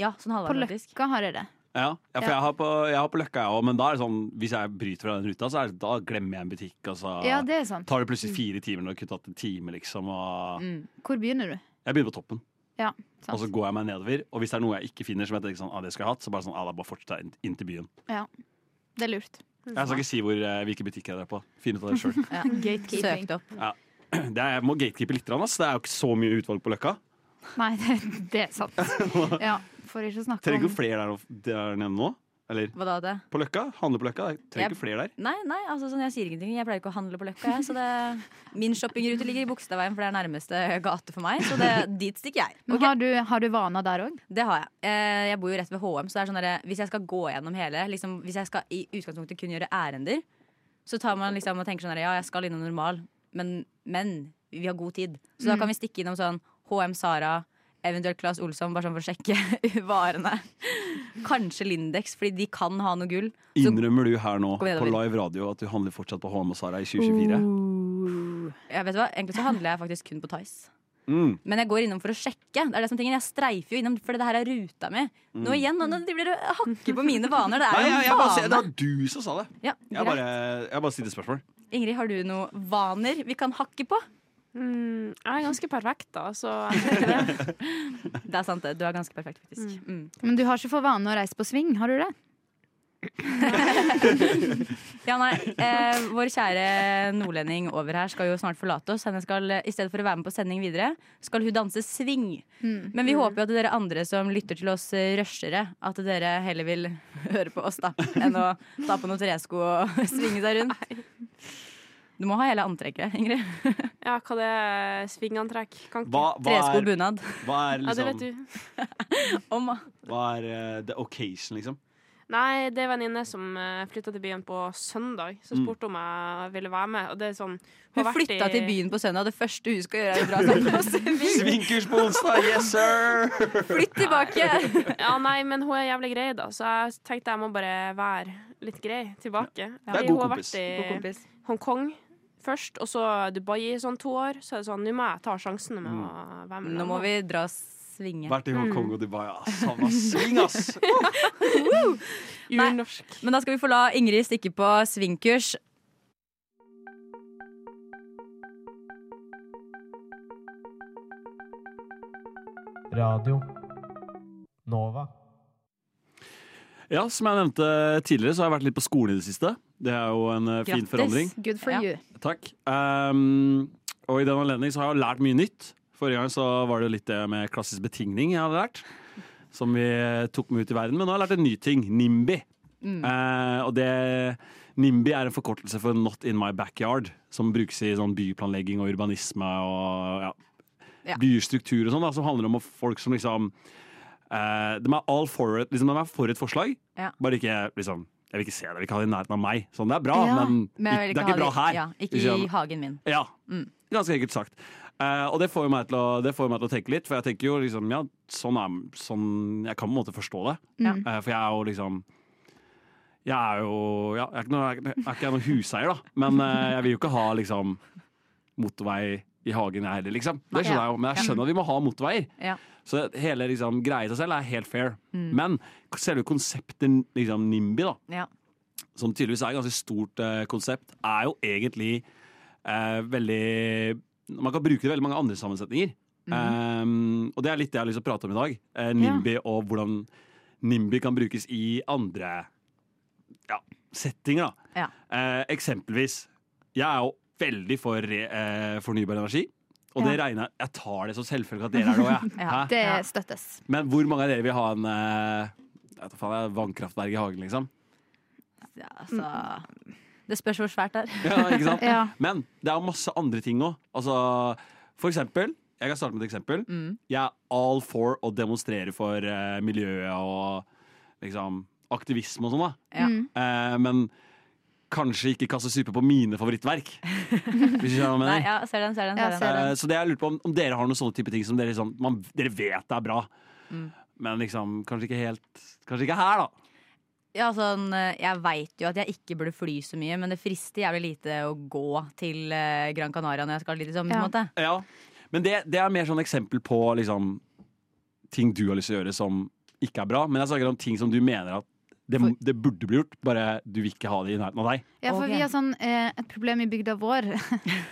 E: Ja, sånn
H: På Løkka har jeg det.
G: Ja, ja for
H: Ja.
G: Jeg, har på, jeg har på Løkka, jeg òg, men da er det sånn, hvis jeg bryter fra den ruta, så er det, da glemmer jeg en butikk. Og så
H: Ja, det er sant.
G: tar det plutselig fire timer når det kunne tatt en time. liksom. Og
H: Hvor begynner du?
G: Jeg begynner på toppen,
H: Ja,
G: og
H: sant.
G: så går jeg meg nedover. Og hvis det er noe jeg ikke finner, som jeg tenker sånn, ah, det skulle jeg hatt, så bare sånn, ah, da bare fortsetter jeg inn- inn til byen.
H: Ja. Det er lurt.
F: Mm.
G: Jeg skal ikke si hvor, eh, hvilke butikker jeg er på. Finn ut av det sjøl.
E: Ja.
H: Gatekeeping.
E: Søkt opp.
G: Ja. Det er, jeg må gatekeepe litt, ass. det er jo ikke så mye utvalg på Løkka.
H: Nei, det, det er sant. Ja, for ikke å snakke
F: Mm.
H: om
G: Trenger ikke flere der, å- der nede nå. Eller
E: Hva da det?
G: på Løkka? Handle på Løkka? Jeg Trenger
E: Jeg-
G: ikke flere der.
E: Nei, nei, altså sånn, jeg sier ingenting. Jeg pleier ikke å handle på Løkka. Jeg, så det, min shoppingrute ligger i Bogstadveien, for det er nærmeste gate for meg. Så det, dit stikker jeg.
H: Men har, du, har du vaner der òg?
E: Det har jeg. Eh, Jeg bor jo rett ved HM, så det er sånn derre- hvis jeg skal gå gjennom hele liksom, Hvis jeg skal i utgangspunktet kun gjøre ærender, så tar man liksom og tenker sånn derre, Ja, jeg skal innom normal, men, men vi har god tid. Så da
L: Mm.
E: kan vi stikke innom sånn HM Sara, eventuelt Claes Olsson, bare sånn for å sjekke varene. Kanskje Lindex, fordi de kan ha noe gull.
G: Innrømmer du her nå
E: Kom igjen,
G: på
E: David.
G: live radio at du handler fortsatt på HM og Sara i 2024?
F: Mm.
E: Jeg vet du hva, Egentlig så handler jeg faktisk kun på Tice.
G: Mm.
E: Men jeg går innom for å sjekke. Det er det som er tingen. Jeg streifer jo innom, for det her er ruta mi. Nå
G: Mm.
E: igjen, nå, nå driver dere og hakker på mine vaner. Det
G: Nei,
E: er
G: jeg,
E: jo
G: jeg
E: en
G: bare, sier- det
E: vane.
G: var du som sa det.
E: Ja,
G: Jeg
E: greit.
G: bare, jeg bare stiller spørsmål.
E: Ingrid, har du noen vaner vi kan hakke på?
F: Mm, jeg er ganske perfekt, da, så jeg tror ikke det.
E: Det er sant, det. Du er ganske perfekt, faktisk. Mm.
H: Men du har ikke for vane å reise på sving, har du det?
E: Ja, nei, eh, Vår kjære nordlending over her skal jo snart forlate oss. Henne skal, eh, I stedet for å være med på sending videre, skal hun danse swing.
L: Mm.
E: Men vi håper jo at dere andre som lytter til oss eh, rushere, at dere heller vil høre på oss da enn å ta på noen tresko og svinge seg rundt. Du må ha hele antrekket, Ingrid.
F: Ja, hva det er svingantrekk? Kan ikke-
G: Hva- hva Tresko, er- bunad. hva er
F: Ja, det
G: liksom-
F: vet du.
G: Hva er eh, the occasion, liksom?
F: Nei, det er en venninne som flytta til byen på søndag, som
G: Mm.
F: spurte om jeg ville være med. Og det er sånn
E: Hun
F: har vært
E: flytta
F: i-
E: til byen på søndag, og det første hun skal gjøre, er å dra seg på sving.
G: Svinkurs på onsdag, yes sir!
E: Flytt tilbake!
F: Ja, nei, men hun er jævlig grei, da, så jeg tenkte jeg må bare være litt grei tilbake.
G: Ja. Det er
F: Fordi
G: god
F: hun har
G: kompis. God
F: vært i
E: kompis.
F: Hongkong først, og så Dubai i sånn to år. Så er det sånn, nå må jeg ta sjansen
G: Mm.
F: med å være med.
E: Nå må vi dra og svinge.
G: Vært i Hongkong og Dubai, ass. Savna sving, ass!
E: Urnorsk. Men da skal vi få la Ingrid stikke på svingkurs.
L: Radio Nova.
G: Ja, som jeg nevnte tidligere, så har jeg vært litt på skolen i det siste. Det er jo en eh, fin forandring.
H: Good for you.
G: Takk. Ehm, og i den anledning så har jeg lært mye nytt. Forrige gang så var det litt det med klassisk betingning jeg hadde lært. Som vi tok med ut i verden. Men nå har jeg lært en ny ting. NIMBY.
M: Mm.
G: Eh, og det NIMBY er en forkortelse for Not in my backyard. Som brukes i sånn byplanlegging og urbanisme og ja,
M: Ja.
G: bystruktur og sånn. da, Som handler om folk som liksom eh, De er all for it. Liksom, de er for et forslag,
E: Ja.
G: bare ikke liksom jeg vil ikke se det, jeg vil ikke ha det i nærheten av meg. Sånn, det er bra,
E: Ja,
G: men,
E: men jeg vil
G: ikke, det er
E: ha
G: ikke bra her.
E: Ja, ikke
G: Liksom.
E: i hagen min.
G: Ja,
E: Mm.
G: ganske enkelt sagt. Eh, og det får, jo meg til å, det får jo meg til å tenke litt, for jeg tenker jo liksom ja, sånn er sånn, Jeg kan på en måte forstå det.
E: Ja.
G: Eh, for jeg er jo liksom Jeg er jo ja, Jeg er ikke noe, jeg er ikke- jeg er ikke noen huseier, da, men eh, jeg vil jo ikke ha liksom motorvei i hagen, jeg heller, liksom. Det skjønner jeg jo, men jeg skjønner at vi må ha motorveier.
E: Ja.
G: Så hele liksom, greia i seg selv er helt fair.
E: Mm.
G: Men selve konseptet liksom, NIMBY, da,
E: Ja.
G: som tydeligvis er et ganske stort eh, konsept, er jo egentlig eh, veldig Man kan bruke det i veldig mange andre sammensetninger. Eh, og det er litt det jeg har lyst til å prate om i dag. Eh, NIMBY og hvordan NIMBY kan brukes i andre ja, settinger. Da.
E: Ja.
G: Eh, eksempelvis, jeg er jo veldig for eh, fornybar energi. Og det
H: Ja.
G: regner jeg Jeg tar det som selvfølgelig at dere er det òg, jeg. Hæ?
H: Det støttes.
G: Men hvor mange av dere vil ha en eh, jeg vet da faen, jeg, vannkraftverk i hagen, liksom?
E: Ja, altså, det spørs hvor svært det er.
G: Ja, ikke sant?
E: Ja.
G: Men det er jo masse andre ting òg. Altså, for eksempel Jeg kan starte med et eksempel.
E: Mm.
G: Jeg er all for å demonstrere for eh, miljøet og liksom aktivisme og sånn, da.
E: Ja. Mm.
G: Eh, men kanskje ikke kaste suppe på mine favorittverk. Hvis du skjønner hva jeg mener.
E: Nei, ja, ser den, ser den. Ser
G: Eh,
E: den.
G: Så det jeg lurer på om, om dere har noen sånne type ting som dere, sånn, man, dere vet er bra,
E: Mm.
G: men liksom kanskje ikke helt Kanskje ikke her, da.
E: Ja, sånn, eh, jeg veit jo at jeg ikke burde fly så mye, men det frister jævlig lite å gå til eh, Gran Canaria når jeg skal dit. Liksom, på en måte.
G: Ja. Men det, det er mer sånn eksempel på liksom, ting du har lyst til å gjøre som ikke er bra. Men jeg snakker om ting som du mener at det, det burde bli gjort, bare du vil ikke ha det i nærheten av deg.
H: Ja, for
G: Ok.
H: vi har sånn, eh, et problem i bygda vår.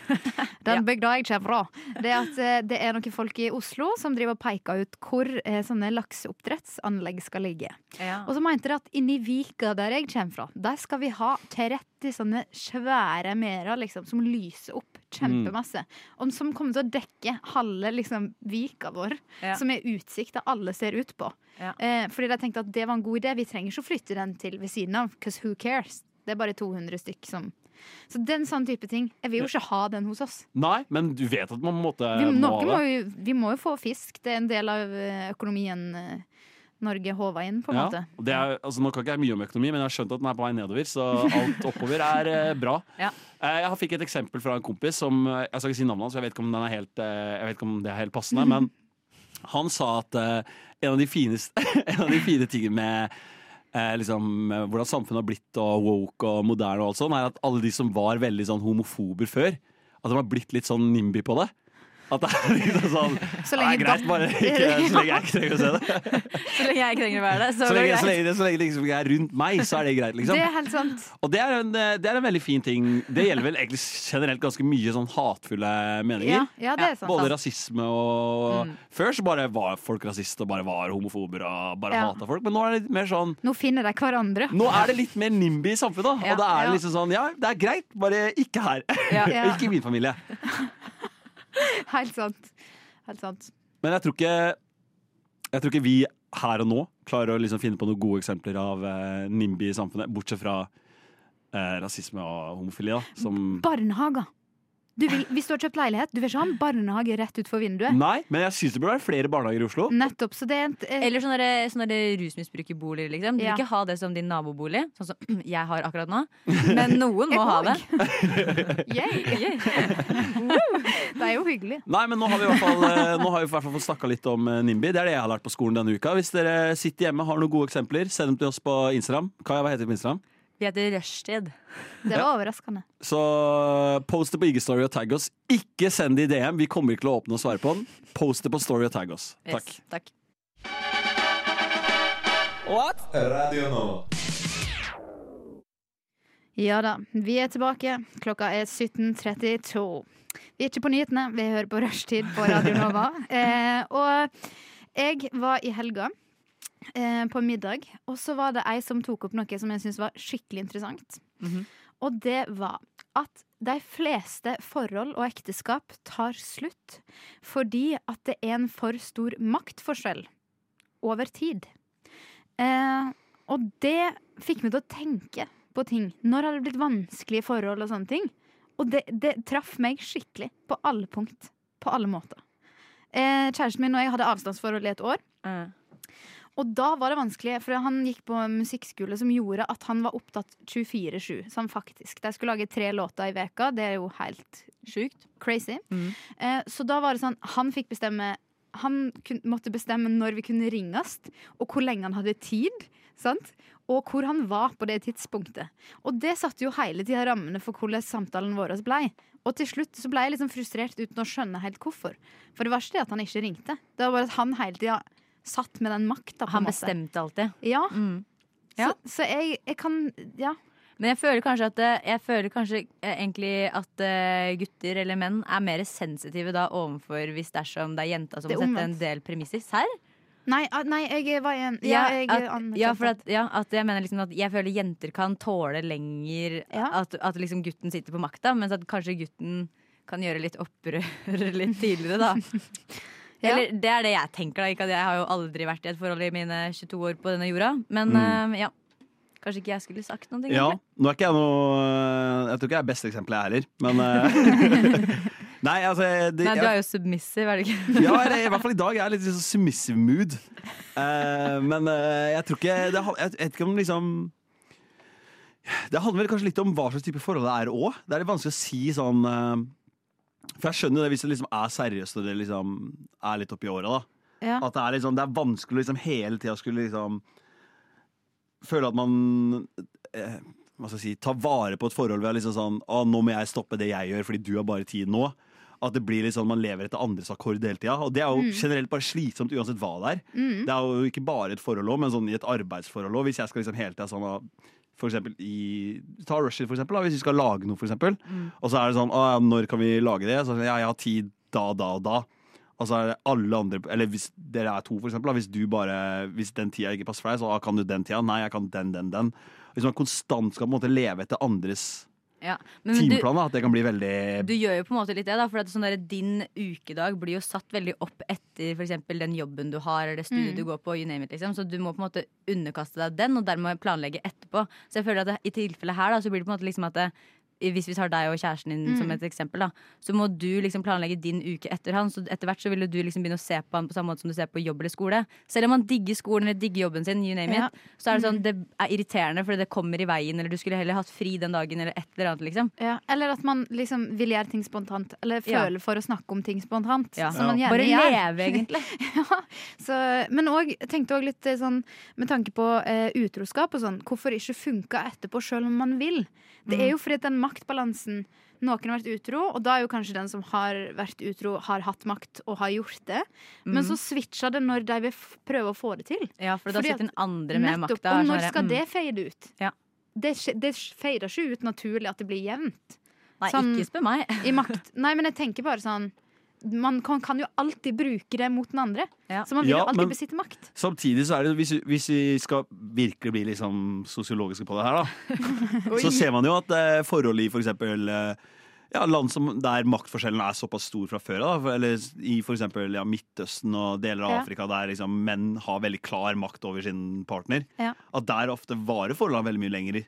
H: Den bygda jeg kommer fra. Det er at eh, det er noen folk i Oslo som driver og peker ut hvor eh, sånne lakseoppdrettsanlegg skal ligge.
E: Ja.
H: Og så mente de at inni Vika, der jeg kommer fra, der skal vi ha 30 sånne svære merder liksom, som lyser opp kjempemasse.
E: Mm.
H: Og som kommer til å dekke halve liksom, Vika vår,
E: Ja.
H: som er utsikta alle ser ut på.
E: Ja.
H: Eh, fordi de tenkte at det var en god idé, vi trenger ikke å flytte den til ved siden av, because who cares? Det er bare 200 stykk som Så den sånn type ting. Jeg vil jo ikke ha den hos oss.
G: Nei, men du vet at man på en måte
H: Vi,
G: må
H: noen
G: ha
H: må
G: det.
H: jo, vi må jo få fisk. Det er en del av eh, økonomien eh, Norge håva inn, på en
G: Ja,
H: måte.
G: og det er, altså, nå kan ikke jeg mye om økonomi, men jeg har skjønt at den er på vei nedover, så alt oppover er eh, bra.
E: Ja.
G: Eh, jeg fikk et eksempel fra en kompis som eh, Jeg skal ikke si navnet hans, for jeg vet ikke om, den er helt, eh, jeg vet ikke om det er helt passende, men han sa at eh, en, av de fineste, en av de fine tingene med Eh, liksom, eh, hvordan samfunnet har blitt og woke og moderne og alt sånn, er at alle de som var veldig sånn homofober før, at de har blitt litt sånn nimby på det. At det er liksom sånn
E: Så
G: «Ja,
E: lenge
G: greit,
E: da-
G: bare ikke, så lenge jeg ikke trenger å se det.
E: Så lenge jeg ikke trenger å være der, så, går
G: Så
E: det
G: lenge,
E: greit.
G: så lenge, det- så lenge det liksom ikke er rundt meg, så er det greit, liksom.
H: Det er helt sant.
G: Og det er, en, eh, det er en veldig fin ting. Det gjelder vel egentlig generelt ganske mye sånn hatefulle meninger.
H: Ja, ja, det er sant.
G: Både
H: sant.
G: rasisme og
H: Mm.
G: Før så bare var folk rasister og bare var homofober og bare
H: Ja.
G: hata folk, men nå er det litt mer sånn
H: Nå finner de hverandre.
G: nå er det litt mer nimby i samfunnet, da.
H: Ja,
G: og da er det
H: ja.
G: liksom sånn, ja, det er greit, bare ikke her.
H: Ja, ja.
G: ikke i min familie.
H: Helt sant. Helt sant.
G: Men jeg tror ikke Jeg tror ikke vi her og nå klarer å liksom finne på noen gode eksempler av eh, nimby i samfunnet, bortsett fra eh, rasisme og homofili, da. Som
H: Barnehager. Du vil, hvis du har kjøpt leilighet, du vil ikke ha en barnehage rett utenfor vinduet.
G: Nei, men jeg syns det burde være flere barnehager i
E: Mm.
G: Oslo.
H: Nettopp, så det er en
E: Eller sånn sånne, der- sånne der rusmisbrukerboliger, liksom. Du vil
H: Ja.
E: ikke ha det som din nabobolig, sånn som jeg har akkurat nå. Men noen må ha det.
H: Det er jo hyggelig.
G: Nei, men nå har vi i hvert fall, eh, nå har vi i hvert fall fått snakka litt om eh, NIMBY. Det er det jeg har lært på skolen denne uka. Hvis dere sitter hjemme har noen gode eksempler, send dem til oss på Instagram. Kaja, hva heter vi på Instagram?
E: Vi heter Rushtid.
H: Det var overraskende.
G: Så post det på IG Story og tagg oss. Ikke send det i DM, vi kommer ikke til å åpne og svare på den. Post det på Story og tagg oss.
E: Yes,
G: Takk.
E: takk.
I: Radio Nova.
H: Ja da, vi er tilbake. Klokka er 17.32. Vi er ikke på nyhetene, vi hører på Rushtid på Radio Nova. Eh, og Jeg var i helga eh, på middag, og så var det ei som tok opp noe som jeg syntes var skikkelig interessant. Og det var at de fleste forhold og ekteskap tar slutt fordi at det er en for stor maktforskjell over tid. Eh, og det fikk meg til å tenke på ting. Når har det blitt vanskelige forhold og sånne ting? Og det, det traff meg skikkelig på alle punkt. På alle måter. Eh, kjæresten min og jeg hadde avstandsforhold i et år. Og da var det vanskelig, for han gikk på musikkskole som gjorde at han var opptatt 24-7. Sånn faktisk. De skulle lage tre låter i veka, det er jo helt sjukt. Crazy. Eh, så da var det sånn, han fikk bestemme Han kun, måtte bestemme når vi kunne ringes, og hvor lenge han hadde tid. Sant? Og hvor han var på det tidspunktet. Og det satte jo hele tida rammene for hvordan samtalen vår blei. Og til slutt så blei jeg liksom frustrert uten å skjønne helt hvorfor. For det var ikke det at han ikke ringte. Det var bare at han hele tida satt med den makta.
E: Han Mm. bestemte alltid.
H: Ja. Så, så jeg, jeg kan Ja.
E: Men jeg føler kanskje at, eh, jeg føler kanskje eh, egentlig at eh, gutter eller menn er mer sensitive da overfor hvis dersom det er jenta som
H: Det er
E: må sette en
H: omvendt.
E: del premisser. Serr?
H: Nei, ah, nei jeg var en Ja, jeg
E: at,
H: anerkjente
E: ja, for at, ja, at jeg mener liksom at jeg føler jenter kan tåle lenger at, at liksom gutten sitter på makta, mens at kanskje gutten kan gjøre litt opprør litt tidligere, da.
H: Ja.
E: Eller det er det jeg tenker, da. Ikke at jeg har jo aldri vært i et forhold i mine 22 år på denne jorda. Men
G: Mm.
E: eh, ja. Kanskje ikke jeg skulle sagt noe,
G: Ja,
E: egentlig.
G: nå er ikke jeg noe eh, Jeg tror ikke jeg er beste eksempelet jeg heller, men eh, Nei, altså det,
E: Nei, du
G: jeg-
E: er jo submissive, er du ikke?
G: ja, eller i hvert fall i dag. Jeg er litt i sånn submissive mood. Eh, men eh, jeg tror ikke det, ha- Jeg vet ikke om liksom Det handler vel kanskje litt om hva slags type forhold det er òg. Det er litt vanskelig å si sånn eh, For jeg skjønner jo det hvis det liksom er seriøst og det liksom er litt oppi åra, da.
H: Ja.
G: At det er, liksom, det er vanskelig å liksom hele tida skulle liksom føle at man eh, hva skal jeg si, tar vare på et forhold ved å liksom sånn Å, nå må jeg stoppe det jeg gjør, fordi du har bare tid nå. At det blir litt sånn man lever etter andres akkord hele tida. Og det er jo
M: Mm.
G: generelt bare slitsomt uansett hva det er.
M: Mm.
G: Det er jo ikke bare et forhold òg, men sånn i et arbeidsforhold òg. Hvis jeg skal liksom hele tida sånn ah, for eksempel i Ta Rusher, for eksempel. Da, hvis vi skal lage noe, for eksempel.
M: Mm.
G: Og så er det sånn ah, ja, Når kan vi lage det? Så, er det sånn, ja, jeg har tid da, da og da. Og så er det alle andre Eller hvis dere er to, for eksempel. Da, hvis, du bare, hvis den tida ikke passer for deg, så ah, kan du den tida. Nei, jeg kan den, den, den. Hvis man konstant skal på en måte leve etter andres
E: Ja. Men du,
G: timeplan, da, at det kan bli veldig
E: du gjør jo på en måte litt det, da. For at sånn der, din ukedag blir jo satt veldig opp etter for eksempel den jobben du har, eller det studiet
H: Mm.
E: du går på, you name it, liksom. Så du må på en måte underkaste deg den, og dermed planlegge etterpå. Så jeg føler at det, i tilfellet her, da, så blir det på en måte liksom at det, hvis vi tar deg og kjæresten din
H: Mm.
E: som et eksempel, da, så må du liksom planlegge din uke etter han. Så etter hvert så vil jo du liksom begynne å se på han på samme måte som du ser på jobb eller skole. Selv om han digger skolen eller digger jobben sin, you name
H: Ja.
E: it, så er det sånn
H: Mm.
E: det er irriterende fordi det kommer i veien, eller du skulle heller hatt fri den dagen, eller et eller annet, liksom.
H: Ja, eller at man liksom vil gjøre ting spontant, eller
E: Ja.
H: føler for å snakke om ting spontant.
E: Ja.
H: Som man
E: Ja.
H: gjerne
E: Bare
H: gjør.
E: leve, egentlig.
H: ja, så, men òg tenkte òg litt eh, sånn med tanke på eh, utroskap og sånn, hvorfor ikke funka etterpå sjøl om man vil? Det
E: Mm.
H: er jo fordi at den maktbalansen noen har vært utro, og da er jo kanskje den som har vært utro, har hatt makt og har gjort det. Men
E: Mhm.
H: så switcher det når de vil f prøve å få det til.
E: Ja, for da
H: Fordi
E: sitter
H: at-
E: den andre med
H: nettopp,
E: makta.
H: Og
E: sånn
H: når
E: her,
H: skal
E: mm.
H: det fade ut?
E: Ja.
H: Det, skje- det fader ikke ut naturlig at det blir jevnt.
E: Nei,
H: sånn
E: ikke spør meg.
H: I makt. Nei, men jeg tenker bare sånn Man kan, kan jo alltid bruke det mot den andre. Så man vil
G: Ja,
H: jo alltid
G: men-
H: besitte makt.
G: Samtidig så er det hvis, hvis vi skal virkelig bli liksom sosiologiske på det her, da, så ser man jo at eh, forhold i for eksempel eh, ja, land som, der maktforskjellen er såpass stor fra før av, da, for- eller i for eksempel ja, Midtøsten og deler av
M: Ja.
G: Afrika der liksom menn har veldig klar makt over sin partner,
H: Ja.
G: at der ofte varer forholdene veldig mye lenger.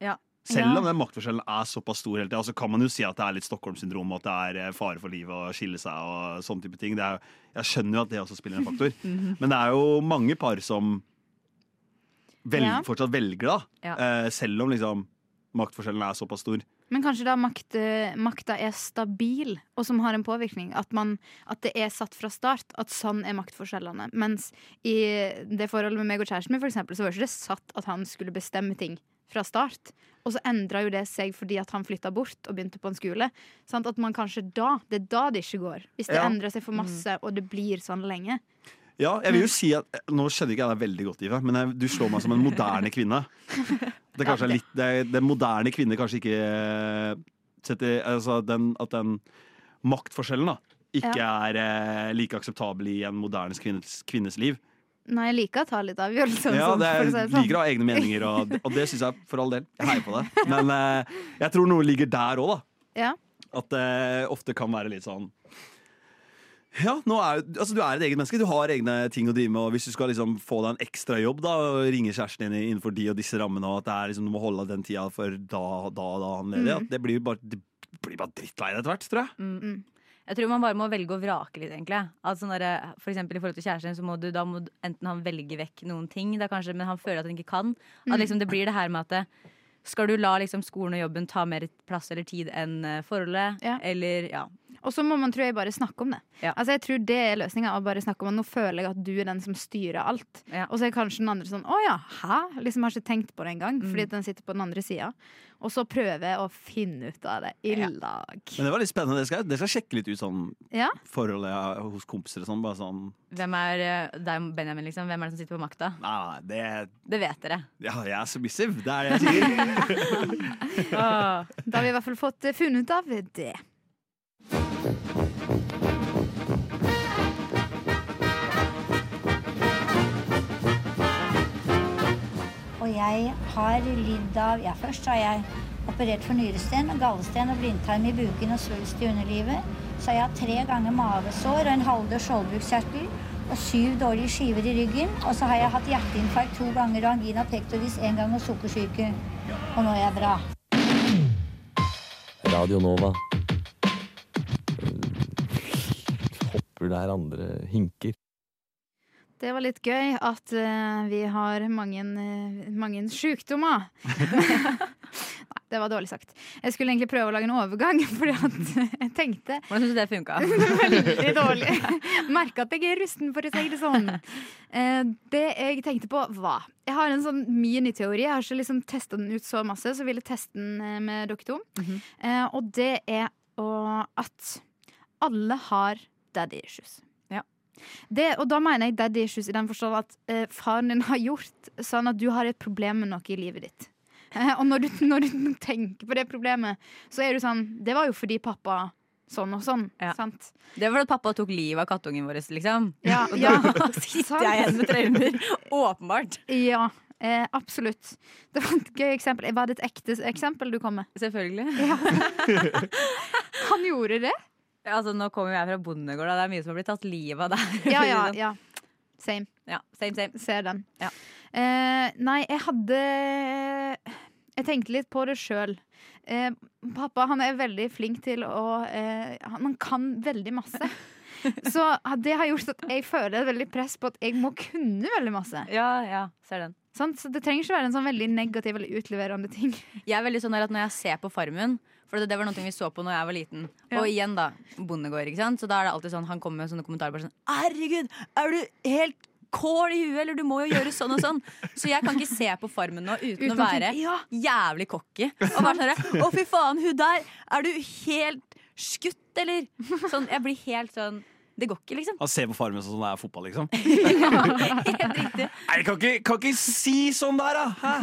E: Ja.
G: Selv om den maktforskjellen er såpass stor hele tida, så kan man jo si at det er litt Stockholm-syndrom, og at det er eh, fare for livet og skille seg og sånne type ting. Det er, jeg skjønner jo at det også spiller en faktor.
M: Mhm.
G: Men det er jo mange par som vel,
H: Ja.
G: fortsatt velger, da.
H: Ja.
G: Eh, selv om liksom maktforskjellen er såpass stor.
H: Men kanskje da makt, eh, makta er stabil, og som har en påvirkning. At, man, at det er satt fra start at sånn er maktforskjellene. Mens i det forholdet med meg og kjæresten min, for eksempel, så var ikke det satt at han skulle bestemme ting fra start. Og så endra jo det seg fordi at han flytta bort og begynte på en skole. Sant? At man kanskje da Det er da det ikke går. Hvis det
G: Ja.
H: endrer seg for masse, og det blir sånn lenge.
G: Ja, jeg vil
H: Mm.
G: jo si at eh, Nå skjønner ikke jeg deg veldig godt, Ive, men jeg, du slår meg som en moderne kvinne. Det kanskje er litt det, det moderne kvinner kanskje ikke eh, setter Altså den, at den maktforskjellen, da. ikke
H: Ja.
G: er eh, like akseptabel i en moderne kvinnes, kvinnes liv.
H: Nei, jeg liker å ta litt avgjørelser. og
G: Ja,
H: sånn,
G: det
H: for
G: er,
H: å si det sånn.
G: liker å ha egne meninger, og, og det syns jeg for all del. Jeg heier på det. Men eh, jeg tror noe ligger der òg, da.
H: Ja.
G: At det ofte kan være litt sånn ja, nå er, jo- altså, Du er et eget menneske, du har egne ting å drive med. Og Hvis du skal liksom få deg en ekstra jobb da, og ringe kjæresten din innenfor de og disse rammene, og at det er liksom, du må holde av den tida for da da, da han ledig,
E: Mm.
G: at det blir jo bare, det blir bare drittlei deg etter hvert, tror jeg.
E: Mm. Jeg tror man bare må velge å vrake litt, egentlig. At sånn derre- for eksempel i forhold til kjæresten, så må du da må du- enten han velge vekk noen ting, da kanskje, men han føler at han ikke kan. At
H: Mm.
E: liksom det blir det her med at det, skal du la liksom skolen og jobben ta mer plass eller tid enn eh, forholdet? Eller ja.
H: Og så må man tror jeg, bare snakke om det. Altså jeg tror det er løsninga. å bare snakke om at Nå føler jeg at du er den som styrer alt. Og så er kanskje den andre sånn Å ja, hæ? Liksom har ikke tenkt på det engang. Fordi at den sitter på den andre sida. Og så prøve å finne ut av det i lag.
G: Men det var litt spennende. Det skal, det skal sjekke litt ut sånn
H: Ja.
G: forholdet jeg har hos kompiser og sånn. Bare sånn
E: Hvem er eh, deg, Benjamin, liksom? Hvem er det som sitter på makta?
G: Nei, nei, det
E: Det vet dere.
G: Ja, jeg er submissive. Det er det jeg sier.
H: Da har vi i hvert fall fått eh, funnet ut av det.
M: Og jeg har lidd av Ja, først har jeg operert for nyresten, gallesten og blindtarm i buken og svulst i underlivet. Så har jeg hatt tre ganger mavesår og en halvdød skjoldbruskkjertel og syv dårlige skiver i ryggen. Og så har jeg hatt hjerteinfarkt to ganger og angina pectoris én gang og sukkersyke. Og nå er jeg bra.
N: Radio Nova. Eh, Hopper der andre hinker.
H: Det var litt gøy at eh, vi har mange, eh, mange sjukdommer. Nei, det var dårlig sagt. Jeg skulle egentlig prøve å lage en overgang, fordi at jeg tenkte
E: Hvordan syns du det funka?
H: Veldig dårlig. Merker at jeg er rusten, for å si det sånn. Eh, Det jeg tenkte på, var Jeg har en sånn miniteori. Jeg har ikke liksom testa den ut så masse, så jeg ville teste den eh, med dere to. Eh, Og det er å- at alle har daddy issues. Det, og da mener jeg daddy issues i den forstand at eh, faren din har gjort sånn at du har et problem med noe i livet ditt. Eh, og når du, når du tenker på det problemet, så er du sånn Det var jo fordi pappa sånn og sånn. Sant?
E: Det var at pappa tok livet av kattungen vår, liksom.
H: Ja,
E: og
H: ja, Sånn.
E: da sitter jeg igjen med traumer. Åpenbart.
H: Ja, eh, absolutt. Det var et gøy eksempel. Var det et ekte eksempel du kom med?
E: Selvfølgelig.
H: Han gjorde det?
E: Altså, nå kommer jo jeg fra bondegård, da. det er mye som har blitt tatt livet av der.
H: Ja, ja, ja. Same.
E: Ja, same, same.
H: Ser den. Eh, nei, jeg hadde Jeg tenkte litt på det sjøl. Eh, pappa han er veldig flink til å eh, Han han kan veldig masse. Så ah, det har gjort at jeg føler et veldig press på at jeg må kunne veldig masse.
E: Ja, ja, ser den.
H: Sant? Så det trenger ikke være en sånn veldig negativ eller utleverende ting.
E: Jeg er veldig sånn der at når jeg ser på Farmen For det, det var noe vi så på når jeg var liten. Og
H: Ja.
E: igjen, da. Bondegård. ikke sant? Så da er det alltid sånn Han kommer med sånne kommentarer bare sånn Herregud, er du helt kål i huet, eller du må jo gjøre sånn og sånn. Så jeg kan ikke se på Farmen nå uten,
H: Uten
E: å
H: å
E: være
H: tenke, ja.
E: jævlig cocky. Og være sånn der, Å, fy faen, hun der! Er du helt skutt, eller? Sånn, Jeg blir helt sånn Det går ikke, liksom.
G: Han ser på farmen sånn som det er fotball, liksom.
E: Helt riktig.
G: Nei, kan ikke, kan ikke si sånn der, da! Hæ?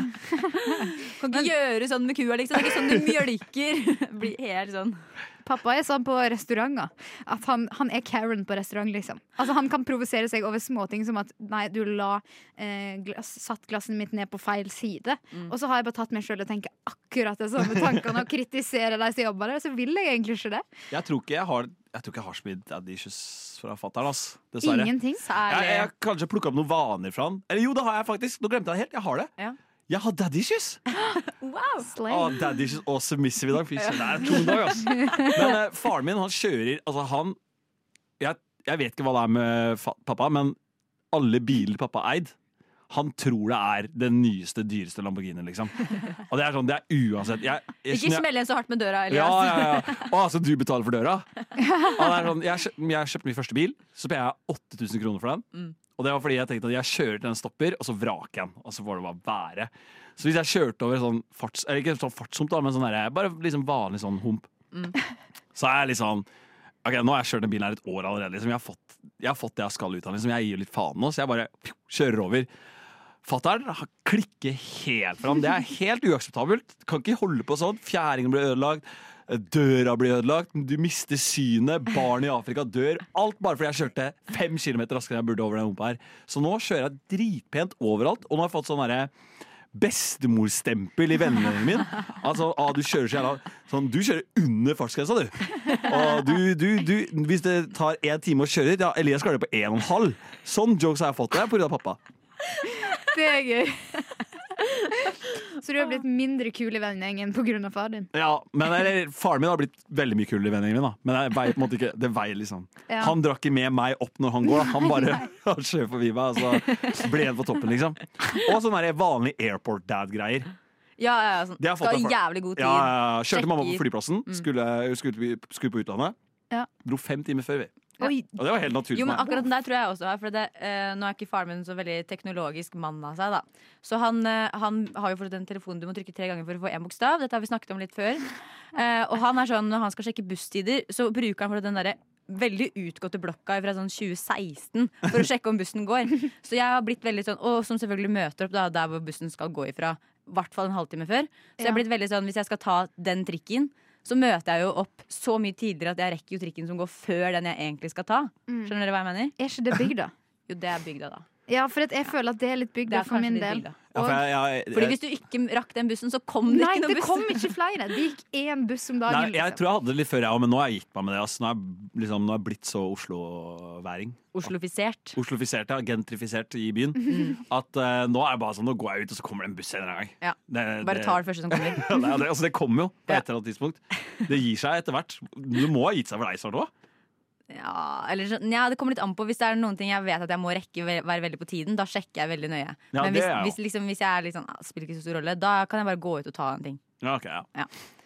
E: Kan ikke gjøre sånn med kua, liksom. Det er ikke sånn du mjølker. Blir helt sånn.
H: Pappa er sånn på restauranter. At han, han er Karen på restaurant, liksom. Altså Han kan provosere seg over småting som at Nei, du la eh, glass, satt glasset mitt ned på feil side.
E: Mm.
H: Og så har jeg bare tatt meg sjøl og tenker akkurat de samme tankene og kritiserer de som jobber der. Så vil jeg egentlig ikke det.
G: Jeg tror ikke jeg har Jeg tror ikke jeg har så mye daddy issues fra fatter'n, ass. Dessverre.
H: Ingenting.
G: Jeg, jeg har kanskje plukka opp noen vaner fra han. Eller jo, det har jeg faktisk. Nå glemte jeg det helt. Jeg har det. Jeg har daddy issues!
E: Wow.
G: Å, daddy issues og submissive i dag. Fy søren, det er en tung dag, ass. Men eh, faren min, han kjører Altså, han jeg, jeg vet ikke hva det er med fa pappa, men alle biler pappa har eid, han tror det er den nyeste, dyreste Lamborghinien, liksom. Og det er sånn, det er uansett jeg, jeg,
E: Ikke smell igjen så hardt med døra,
G: Ja, ja,
E: Elias.
G: ja. Å, altså, du betaler for døra? Ja, det er sånn, jeg, kjøp, jeg kjøpte min første bil, så ble jeg 8000 kroner for den.
E: Mm.
G: Og det var fordi jeg tenkte at jeg kjører til den stopper, og så vraker jeg den. Og så får det bare være. Så hvis jeg kjørte over sånn farts... Eller ikke sånn fartshump, da, men sånn der, bare liksom vanlig sånn hump.
E: Mm.
G: Så er jeg litt sånn Ok, nå har jeg kjørt den bilen her et år allerede. Liksom. Jeg, har fått, jeg har fått det jeg skal ut av den. Liksom. Jeg gir litt faen nå, så jeg bare pju, kjører over. Fatter'n han klikker helt fram. Det er helt uakseptabelt. Kan ikke holde på sånn. Fjæringen blir ødelagt. Døra blir ødelagt, du mister synet, barn i Afrika dør. Alt bare fordi jeg kjørte fem kilometer raskere enn jeg burde over den humpa her. Så nå kjører jeg dritpent overalt, og nå har jeg fått sånn derre bestemorstempel i vennene mine. Altså, ah, du kjører så jævla sånn, Du kjører under fartsgrensa, du. Og du, du, du. Hvis det tar én time å kjøre dit, ja, Elias klarer det på én og en halv. Sånn jokes har jeg fått det pga. pappa.
H: Det er gøy. Så du har blitt mindre kul i vennegjengen pga. far din?
G: Ja, men eller, Faren min har blitt veldig mye kulere i vennene mine, da. men jeg veier på en måte ikke Det veier liksom.
H: Ja.
G: Han drar ikke med meg opp når han går, da. han bare han kjører forbi meg, og så blir han på toppen, liksom. Og sånn der vanlig airport dad-greier.
E: Ja, ja, ja, sånn.
G: Det har jeg fått
E: Skal ha
G: av folk.
E: jævlig god tid.
G: Ja, ja, ja. Kjørte mamma på
E: Sjekker.
G: flyplassen,
E: Mm.
G: skulle, eh, skulle, skulle på utlandet.
E: Ja.
G: Dro fem timer før, vi.
E: Oi.
G: Og det var helt naturlig
E: Jo, men
G: for meg.
E: akkurat den der tror jeg også er, for det, eh, Nå er ikke faren min så veldig teknologisk mann av seg, da. Så han, eh, han har jo fått en telefon du må trykke tre ganger for å få én bokstav. Dette har vi snakket om litt før. Eh, og han er sånn, når han skal sjekke busstider, så bruker han for den derre Veldig utgåtte blokka fra sånn 2016 for å sjekke om bussen går. Så jeg har blitt veldig sånn, og som selvfølgelig møter opp da, der hvor bussen skal gå ifra. I hvert fall en halvtime før. Så jeg har
H: Ja.
E: blitt veldig sånn, hvis jeg skal ta den trikken, så møter jeg jo opp så mye tidligere at jeg rekker jo trikken som går før den jeg egentlig skal ta.
H: Mm.
E: Skjønner dere hva jeg mener?
H: Er ikke det bygda?
E: Jo, det er bygda, da.
H: Ja, for at jeg føler at det er litt
E: Det
H: bygda
E: er
H: for
E: kanskje
H: min
E: litt
H: del.
E: bygda.
G: Ja, for jeg, jeg, jeg,
E: Fordi hvis du ikke rakk den bussen, så kom det
H: Nei,
E: ikke noen
H: det
E: buss.
H: kom ikke flere. Det gikk én buss om
G: Nei,
H: dagen. liksom.
G: jeg tror jeg hadde det litt før, jeg òg, men nå har jeg gitt meg med det. ass. Nå er jeg, liksom, nå er jeg blitt så Oslo-væring.
E: Oslofisert.
G: Oslofisert, ja. Gentrifisert i byen. At eh, nå er jeg bare sånn, nå går jeg ut, og så kommer det en buss en eller annen gang.
E: Mhm. Ja.
G: Det-
E: Bare tar det første som kommer.
G: Ja, det, altså, det kommer jo på et eller annet tidspunkt. Det gir seg etter hvert. Du må ha gitt seg for deg snart òg.
E: Ja, eller så, ja, det kommer litt an på. Hvis det er noen ting jeg vet at jeg må rekke ve- være veldig på tiden, da sjekker jeg veldig nøye.
G: Ja,
E: Men
G: det
E: hvis,
G: er jeg
E: hvis,
G: jo.
E: liksom, hvis jeg er litt sånn, ah, spiller ikke så stor rolle, da kan jeg bare gå ut og ta en ting.
G: Ja, ok, ja.